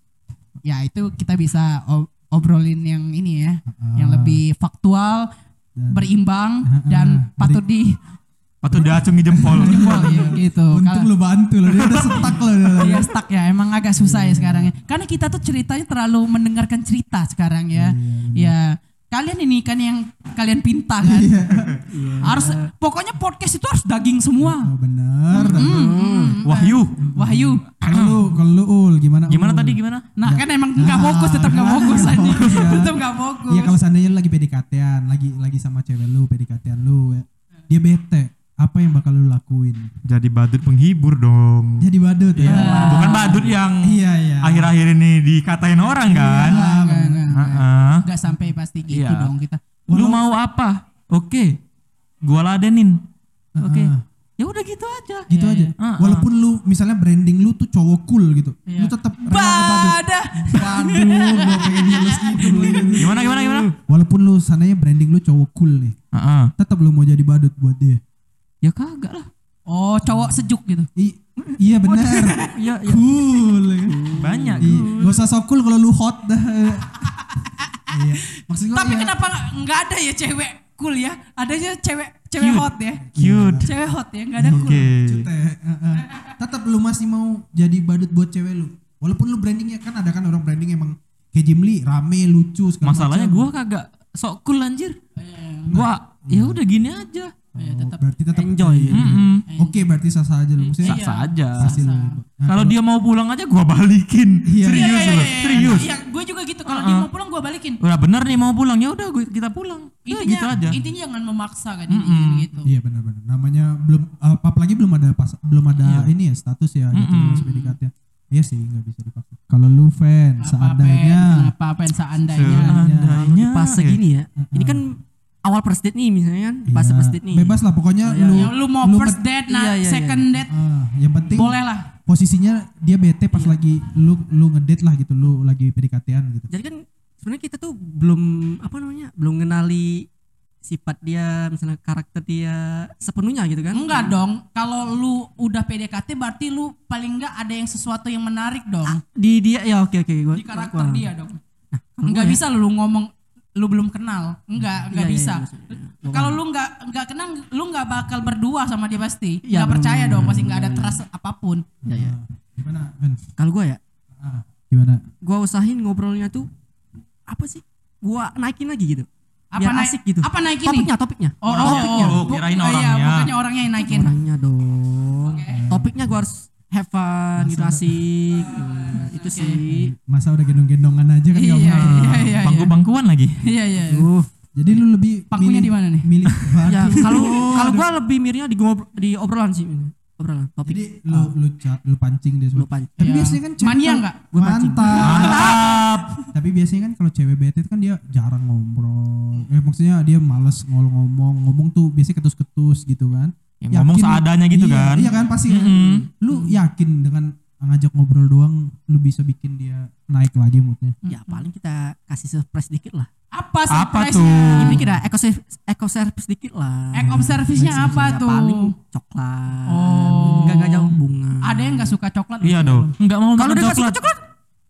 Speaker 1: Ya itu kita bisa o- obrolin yang ini ya, yang lebih faktual, berimbang dan patut di
Speaker 3: Patut diacungi jempol.
Speaker 1: jempol ya, gitu.
Speaker 2: Untung
Speaker 1: Kalau-
Speaker 2: lu bantu lo, dia udah setak lo. dia.
Speaker 1: [LAUGHS] Iya stuck ya, emang agak susah ya sekarang ya. Karena kita tuh ceritanya terlalu mendengarkan cerita sekarang ya. Ya, kalian ini kan yang kalian pinta kan. [LAUGHS] Harus pokoknya podcast itu harus daging semua. Hmm.
Speaker 2: Oh, bener.
Speaker 3: Wahyu.
Speaker 1: Wahyu.
Speaker 2: Kalau lu, kalau lu ul gimana?
Speaker 3: Gimana
Speaker 2: Ul?
Speaker 3: tadi gimana?
Speaker 1: Nah, kan emang nggak fokus, tetap nggak fokus aja. [LAUGHS] tetap nggak fokus.
Speaker 2: Iya kalau seandainya lu lagi PDKT-an, lagi lagi sama cewek lu, PDKT-an lu, ya. dia bete. Apa yang bakal lu lakuin?
Speaker 3: Jadi badut penghibur dong.
Speaker 2: Jadi badut ya.
Speaker 3: Bukan badut yang
Speaker 2: Iya, iya.
Speaker 3: akhir-akhir ini dikatain orang kan.
Speaker 1: Nggak, nggak, nggak, nggak.
Speaker 3: Heeh.
Speaker 1: Nggak sampai pasti gitu
Speaker 3: Iya.
Speaker 1: dong kita.
Speaker 3: Lu mau apa? Oke. Gua ladenin. Oke.
Speaker 2: Heeh.
Speaker 3: Ya udah gitu aja.
Speaker 2: Gitu
Speaker 1: Iya,
Speaker 2: aja.
Speaker 3: Heeh.
Speaker 2: Walaupun lu misalnya branding lu tuh cowok cool gitu, lu tetap rela ke badut.
Speaker 1: Badah.
Speaker 2: Waduh, gua pengen nyeles gitu lu.
Speaker 3: Gimana gimana gimana?
Speaker 2: Walaupun lu seandainya branding lu cowok cool nih,
Speaker 3: Heeh.
Speaker 2: tetap lu mau jadi badut buat dia.
Speaker 3: Ya kagak lah.
Speaker 1: Oh, cowok sejuk gitu.
Speaker 2: I- iya benar.
Speaker 3: Ya, ya.
Speaker 2: cool.
Speaker 3: banyak.
Speaker 2: Iya, Gak usah sok cool kalau lu hot dah. iya. Maksud gua
Speaker 1: Tapi
Speaker 2: ya,
Speaker 1: kenapa nggak- nggak ada ya cewek cool ya? Adanya cewek cewek
Speaker 3: Cute.
Speaker 1: hot ya.
Speaker 3: Cute.
Speaker 1: Cewek hot ya, nggak ada
Speaker 3: Oke.
Speaker 1: cool.
Speaker 2: cut ya, heeh. Tetap lu masih mau jadi badut buat cewek lu. Walaupun lu brandingnya kan ada kan orang branding emang kayak Jimli rame lucu segala
Speaker 3: Masalahnya gua kagak sok cool anjir. Gua ya udah gini aja.
Speaker 2: macam. Oh, berarti tetap
Speaker 4: enjoy.
Speaker 2: iya, iya.
Speaker 3: Mm-mm.
Speaker 2: Oke, berarti sah sah aja lu. Maksudnya
Speaker 3: Sah-sah aja.
Speaker 2: hasil lu. Nah,
Speaker 3: Kalau dia mau pulang aja gua balikin.
Speaker 2: Iya.
Speaker 3: Serius
Speaker 1: Iya, iya,
Speaker 3: loh,
Speaker 1: iya, iya,
Speaker 3: serius.
Speaker 1: Iya, gue juga gitu. Kalau dia mau pulang gue balikin.
Speaker 3: Udah bener nih mau pulang ya udah gua- kita pulang. Iya
Speaker 1: Intinya,
Speaker 3: gitu aja.
Speaker 1: intinya jangan memaksa kan intinya gitu.
Speaker 2: Iya benar-benar. Namanya belum eh, apalagi belum ada pas, belum ada ini ya status ya gitu PDKT. Iya sih nggak bisa dipaksa. Kalau lu fan seandainya
Speaker 1: apa apa yang seandainya.
Speaker 3: Seandainya.
Speaker 4: pas segini ya. Ini kan awal first date nih misalnya kan, pas
Speaker 2: Iya,
Speaker 4: first date nih.
Speaker 2: Bebas lah pokoknya lu
Speaker 1: Ya, lu mau
Speaker 2: lu
Speaker 1: first
Speaker 2: bet-
Speaker 1: date, nah
Speaker 4: Iya, iya,
Speaker 1: second date
Speaker 2: ah, yang penting
Speaker 1: boleh lah.
Speaker 2: posisinya dia bete pas
Speaker 1: Iya.
Speaker 2: lagi lu lu ngedate lah gitu, lu lagi PDKT-an gitu.
Speaker 4: Jadi kan sebenarnya kita tuh belum apa namanya? Belum kenali sifat dia, misalnya karakter dia sepenuhnya gitu kan.
Speaker 1: Enggak dong. Kalau lu udah PDKT berarti lu paling enggak ada yang sesuatu yang menarik dong
Speaker 4: Di dia ya oke oke gua.
Speaker 1: di karakter
Speaker 4: gua-
Speaker 1: dia dong.
Speaker 4: Nah,
Speaker 1: Enggak bisa lu ngomong lu belum kenal. Enggak, enggak
Speaker 4: ya. Iya, iya,
Speaker 1: bisa.
Speaker 4: iya, maksudnya.
Speaker 1: Kalau lu nggak nggak kenal, lu nggak bakal berdua sama dia pasti. Nggak
Speaker 4: Iya, bener,
Speaker 1: percaya
Speaker 4: bener,
Speaker 1: dong,
Speaker 4: bener,
Speaker 1: pasti nggak ada
Speaker 4: bener, iya. bener.
Speaker 1: trust apapun.
Speaker 4: Ya
Speaker 1: Iya.
Speaker 4: ya.
Speaker 2: Ah, gimana, Fan?
Speaker 4: Kalau gua ya,
Speaker 2: Ah, gimana?
Speaker 4: gua usahain ngobrolnya tuh apa sih? Gua naikin lagi gitu.
Speaker 1: Apa
Speaker 4: Biar
Speaker 1: naik-
Speaker 4: asik gitu.
Speaker 1: apa naik ini?
Speaker 4: Topiknya, topiknya.
Speaker 1: Oh, oh,
Speaker 4: topiknya.
Speaker 1: oh,
Speaker 3: Oh, kirain
Speaker 1: bu- oh, iya,
Speaker 3: orangnya.
Speaker 1: bukannya orangnya yang naikin.
Speaker 4: Orangnya dong. Topiknya gua harus have fun, gitu asik. Nah, itu sih.
Speaker 2: Masa udah gendong-gendongan aja kan
Speaker 1: Iya,
Speaker 2: nggak
Speaker 1: iya,
Speaker 2: mungkin.
Speaker 1: iya, iya.
Speaker 3: Bangku-bangkuan lagi.
Speaker 1: Iya, iya.
Speaker 4: Tuh.
Speaker 2: Jadi lu lebih
Speaker 1: Pangkunya di mana nih? [LAUGHS] Iya.
Speaker 2: Milih
Speaker 4: Ya,
Speaker 2: Waduh.
Speaker 4: kalau kalau gua lebih miripnya di ngob- di obrolan sih. Obrolan topik.
Speaker 2: Jadi lu lu ca- lu pancing dia
Speaker 4: Lu
Speaker 2: semua.
Speaker 4: pancing.
Speaker 2: Tapi
Speaker 1: Ah. Iya.
Speaker 2: biasanya kan cewek
Speaker 1: Mania
Speaker 2: kalau-
Speaker 1: nggak? Ah.
Speaker 4: Gua pancing.
Speaker 2: Mantap.
Speaker 3: Mantap.
Speaker 2: Tapi biasanya kan kalau cewek bete itu kan dia jarang ngobrol. Eh maksudnya dia males ngol ngomong. Ngomong tuh biasanya ketus-ketus gitu kan.
Speaker 3: Yang Ya, ngomong
Speaker 2: Yakin-
Speaker 3: seadanya gitu
Speaker 2: iya,
Speaker 3: kan.
Speaker 2: Iya kan pasti.
Speaker 3: Mm-mm.
Speaker 2: Lu yakin dengan ngajak ngobrol doang lu bisa bikin dia naik lagi moodnya.
Speaker 4: Ya paling kita kasih surprise dikit lah.
Speaker 1: Apa
Speaker 3: Apa
Speaker 1: surprise-nya?
Speaker 3: tuh?
Speaker 4: Ini kira eco eco service dikit lah.
Speaker 1: Act of service-nya apa
Speaker 4: Ya,
Speaker 1: tuh?
Speaker 4: Paling coklat.
Speaker 1: Oh.
Speaker 4: Enggak enggak jauh bunga.
Speaker 1: Ada yang nggak suka coklat?
Speaker 3: Iya dong. Enggak mau
Speaker 4: Kalau
Speaker 3: makan
Speaker 4: udah kasih
Speaker 3: coklat.
Speaker 4: coklat,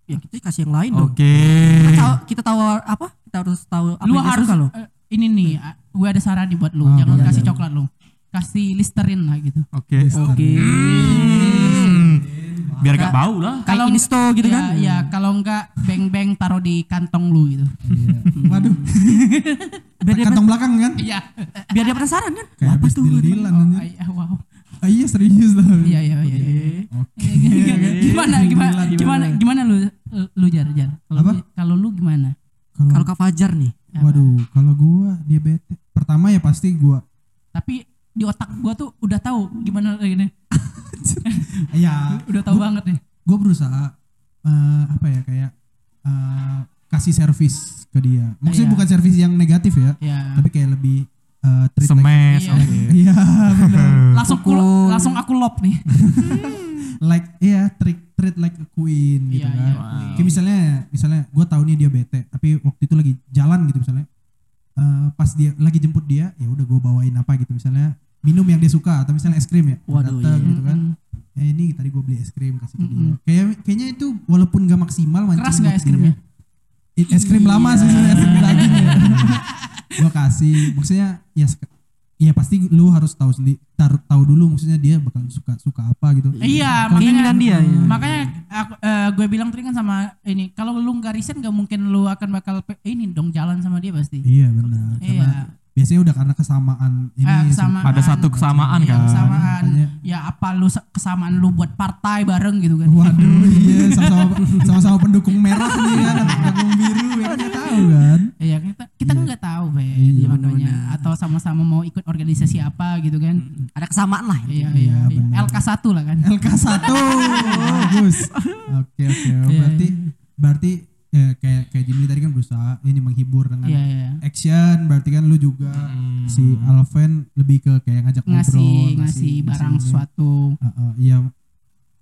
Speaker 4: ya kita kasih yang lain dong.
Speaker 3: Oke.
Speaker 4: Kita tahu- Kita tahu apa? Kita harus tahu apa
Speaker 1: Lu Ah,
Speaker 4: yang dia
Speaker 1: harus
Speaker 4: suka lo.
Speaker 1: eh, ini nih, ah, gue ada saran nih buat lu.
Speaker 2: Oh,
Speaker 1: Jangan
Speaker 2: iya,
Speaker 1: kasih
Speaker 2: iya.
Speaker 1: coklat lu. Kasih listerin lah gitu.
Speaker 3: Oke.
Speaker 4: Oke.
Speaker 3: Hmm. Biar gak bau lah.
Speaker 4: Kayak insto gitu
Speaker 1: ya,
Speaker 4: kan.
Speaker 1: Ya, kalau nggak beng-beng taruh di kantong lu gitu.
Speaker 2: Iya. Waduh.
Speaker 4: Biar dia
Speaker 2: Kantong belakang kan?
Speaker 1: Iya.
Speaker 4: biar dia penasaran kan.
Speaker 2: Kayak
Speaker 4: Apa
Speaker 2: habis
Speaker 4: tuh?
Speaker 2: deal-dealan
Speaker 1: Oh,
Speaker 2: anjir.
Speaker 1: [LAUGHS] iya, wow.
Speaker 2: Ah, iya serius lah.
Speaker 1: Iya, iya, iya. iya.
Speaker 2: Oke.
Speaker 1: gimana gimana gimana gimana lu lu jar jar. Kalau
Speaker 2: Apa?
Speaker 1: lu- Kalau lu gimana?
Speaker 4: Kalau
Speaker 2: Kalau
Speaker 4: Kak Fajar nih,
Speaker 2: waduh, kalau gua dia bete. Pertama ya pasti gua
Speaker 1: Tapi di otak gua tuh udah tahu gimana ini.
Speaker 2: ya
Speaker 1: Udah tahu banget nih.
Speaker 2: gue berusaha eh, apa ya kayak eh, kasih servis ke dia maksudnya
Speaker 1: Iya.
Speaker 2: bukan servis yang negatif ya
Speaker 1: Ya.
Speaker 2: tapi kayak lebih eh, treat like
Speaker 1: Iya.
Speaker 3: Smash, oke.
Speaker 2: iya bener.
Speaker 1: Langsung aku,
Speaker 4: Pukul.
Speaker 1: langsung aku lop nih.
Speaker 2: like iya treat treat like a queen gitu
Speaker 1: Iya,
Speaker 2: kan
Speaker 1: iya,
Speaker 2: kayak misalnya misalnya gue tahu nih dia bete tapi waktu itu lagi jalan gitu misalnya Eh, pas dia lagi jemput dia ya udah gue bawain apa gitu misalnya minum yang dia suka atau misalnya es krim ya
Speaker 4: Waduh,
Speaker 2: dateng
Speaker 4: iya.
Speaker 2: gitu kan ya ini tadi gue beli es krim kasih ke dia kayak kayaknya itu walaupun gak maksimal mancing
Speaker 1: Keras nggak es
Speaker 2: buat
Speaker 1: ya? Iya. krimnya?
Speaker 2: dia. I- es krim lama sih sebenarnya, es krim daging [LAUGHS] gue kasih maksudnya ya sek- ya pasti lu harus tahu sendi- tar- tahu dulu maksudnya dia bakal suka suka apa gitu
Speaker 1: Iya,
Speaker 2: Kalau-
Speaker 1: makanya
Speaker 4: keinginan dia, iya.
Speaker 1: Makanya aku, eh, gue bilang tadi kan sama ini, kalau lu nggak riset nggak mungkin lu akan bakal pe- ini dong jalan sama dia pasti.
Speaker 2: iya benar karena
Speaker 1: Iya.
Speaker 2: biasanya udah karena kesamaan ini
Speaker 1: Eh,
Speaker 2: ya,
Speaker 1: kesamaan.
Speaker 3: Ada satu kesamaan
Speaker 1: Iya,
Speaker 3: kan.
Speaker 1: kesamaan.
Speaker 2: Makanya-
Speaker 1: Ya apa lu se- kesamaan lu buat partai bareng gitu kan. [LAUGHS]
Speaker 2: Waduh, iya sama-sama sama-sama pendukung merah nih kan, atau pendukung biru ya kita tahu kan.
Speaker 1: Iya, kita kita kan nggak tahu, Ben, sebenarnya. atau sama-sama mau ikut organisasi apa gitu kan.
Speaker 4: ada kesamaan lah.
Speaker 1: Iya, iya.
Speaker 2: Iya,
Speaker 1: iya.
Speaker 2: benar.
Speaker 1: LK1 lah kan.
Speaker 2: LK1. Bagus. Oke, oke.
Speaker 1: Iya,
Speaker 2: Berarti berarti ya, kayak kayak Jimmy tadi kan berusaha ini menghibur dengan
Speaker 1: Iya, iya.
Speaker 2: action, berarti kan lu juga si Alven lebih ke kayak ngajak
Speaker 1: Ngasih
Speaker 2: ngobrol,
Speaker 1: ngasih barang
Speaker 2: ini.
Speaker 1: suatu.
Speaker 2: Uh, uh, iya.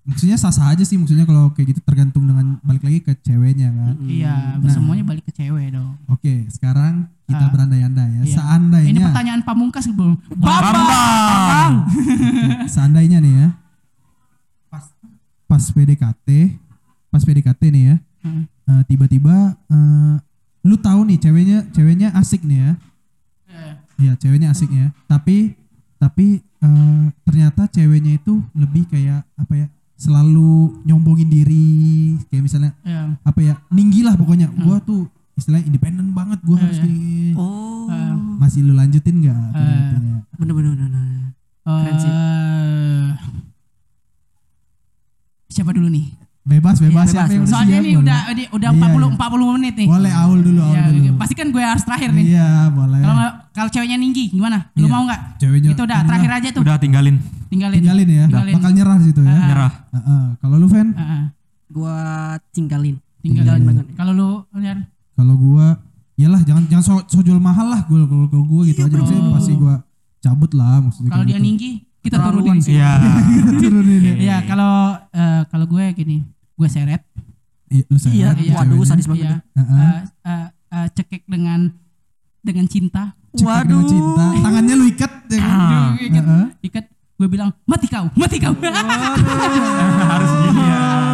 Speaker 2: Maksudnya sah-sah aja sih maksudnya kalau kayak gitu tergantung dengan balik lagi ke ceweknya kan.
Speaker 1: Iya, semuanya balik ke cewek dong.
Speaker 2: Oke, sekarang kita
Speaker 1: Ah.
Speaker 2: berandai-andai ya.
Speaker 1: Iya.
Speaker 2: Seandainya
Speaker 1: Ini pertanyaan pamungkas belum. Bapak.
Speaker 3: Bambang.
Speaker 2: seandainya nih ya pas pas PDKT pas PDKT nih ya
Speaker 1: Hmm.
Speaker 2: eh, tiba-tiba eh, lu tahu nih ceweknya ceweknya asik nih ya
Speaker 1: Eh.
Speaker 2: Iya ceweknya asik nih ya tapi tapi eh, ternyata ceweknya itu lebih kayak apa ya selalu nyombongin diri kayak misalnya
Speaker 1: Iya.
Speaker 2: apa ya ninggi lah pokoknya
Speaker 1: Hmm.
Speaker 2: gua tuh istilahnya independen banget gua
Speaker 1: Eh,
Speaker 2: harus
Speaker 1: iya.
Speaker 2: gini
Speaker 4: Oh,
Speaker 2: masih lu lanjutin nggak PDKT-nya?
Speaker 4: bener-bener. bener-bener. Keren sih.
Speaker 1: Eh, siapa dulu nih?
Speaker 2: bebas bebas
Speaker 4: Iya,
Speaker 2: siapa
Speaker 4: bebas,
Speaker 2: yang udah
Speaker 1: Soalnya
Speaker 2: siap,
Speaker 1: ini
Speaker 2: boleh.
Speaker 1: udah ini udah
Speaker 2: Iya,
Speaker 1: 40
Speaker 2: iya.
Speaker 1: 40 menit nih.
Speaker 2: boleh aul dulu aul
Speaker 1: Iya,
Speaker 2: dulu
Speaker 1: pasti kan gue harus terakhir nih.
Speaker 2: Iya, boleh.
Speaker 1: Kalau nggak- kalau ceweknya ninggi gimana? Lu
Speaker 2: Iya.
Speaker 1: mau nggak?
Speaker 2: Ceweknya
Speaker 1: Itu udah
Speaker 2: inilah.
Speaker 1: terakhir aja tuh.
Speaker 3: Udah tinggalin,
Speaker 1: Tinggalin.
Speaker 2: tinggalin ya,
Speaker 1: Tinggalin. Ah.
Speaker 2: bakal nyerah di situ ya.
Speaker 3: nyerah.
Speaker 2: Heeh. Kalau lu Ven,
Speaker 1: Heeh.
Speaker 4: Gua tinggalin.
Speaker 1: tinggalin
Speaker 2: Iya,
Speaker 4: Tinggalin banget.
Speaker 1: Kalau lu Jar?
Speaker 2: kalau gua iyalah jangan jangan so, so jual mahal lah gua kalau kalau gua gitu aja maksudnya pasti gua cabut lah maksudnya.
Speaker 1: Iya, kalau dia
Speaker 2: kayak gitu.
Speaker 1: ninggi kita
Speaker 4: Terlaluan
Speaker 1: turunin
Speaker 4: sih.
Speaker 2: ya.
Speaker 3: Iya.
Speaker 2: turunin ya.
Speaker 1: Iya, kalau eh, kalau gue gini, gue seret.
Speaker 2: Iya, lu sayang
Speaker 4: Iya,
Speaker 2: banget
Speaker 4: iya.
Speaker 2: ceweknya.
Speaker 4: Waduh, sadis banget.
Speaker 1: Iya.
Speaker 2: Heeh.
Speaker 1: Eh, eh, eh, cekek dengan dengan cinta. Iya,
Speaker 2: Cekek dengan
Speaker 4: Waduh.
Speaker 2: cinta. Tangannya lu ikat ya kan?
Speaker 3: Ah.
Speaker 1: Ikat,
Speaker 2: Heeh. Oh.
Speaker 1: ikat. Gue bilang mati kau, mati kau.
Speaker 3: Harus gini ya.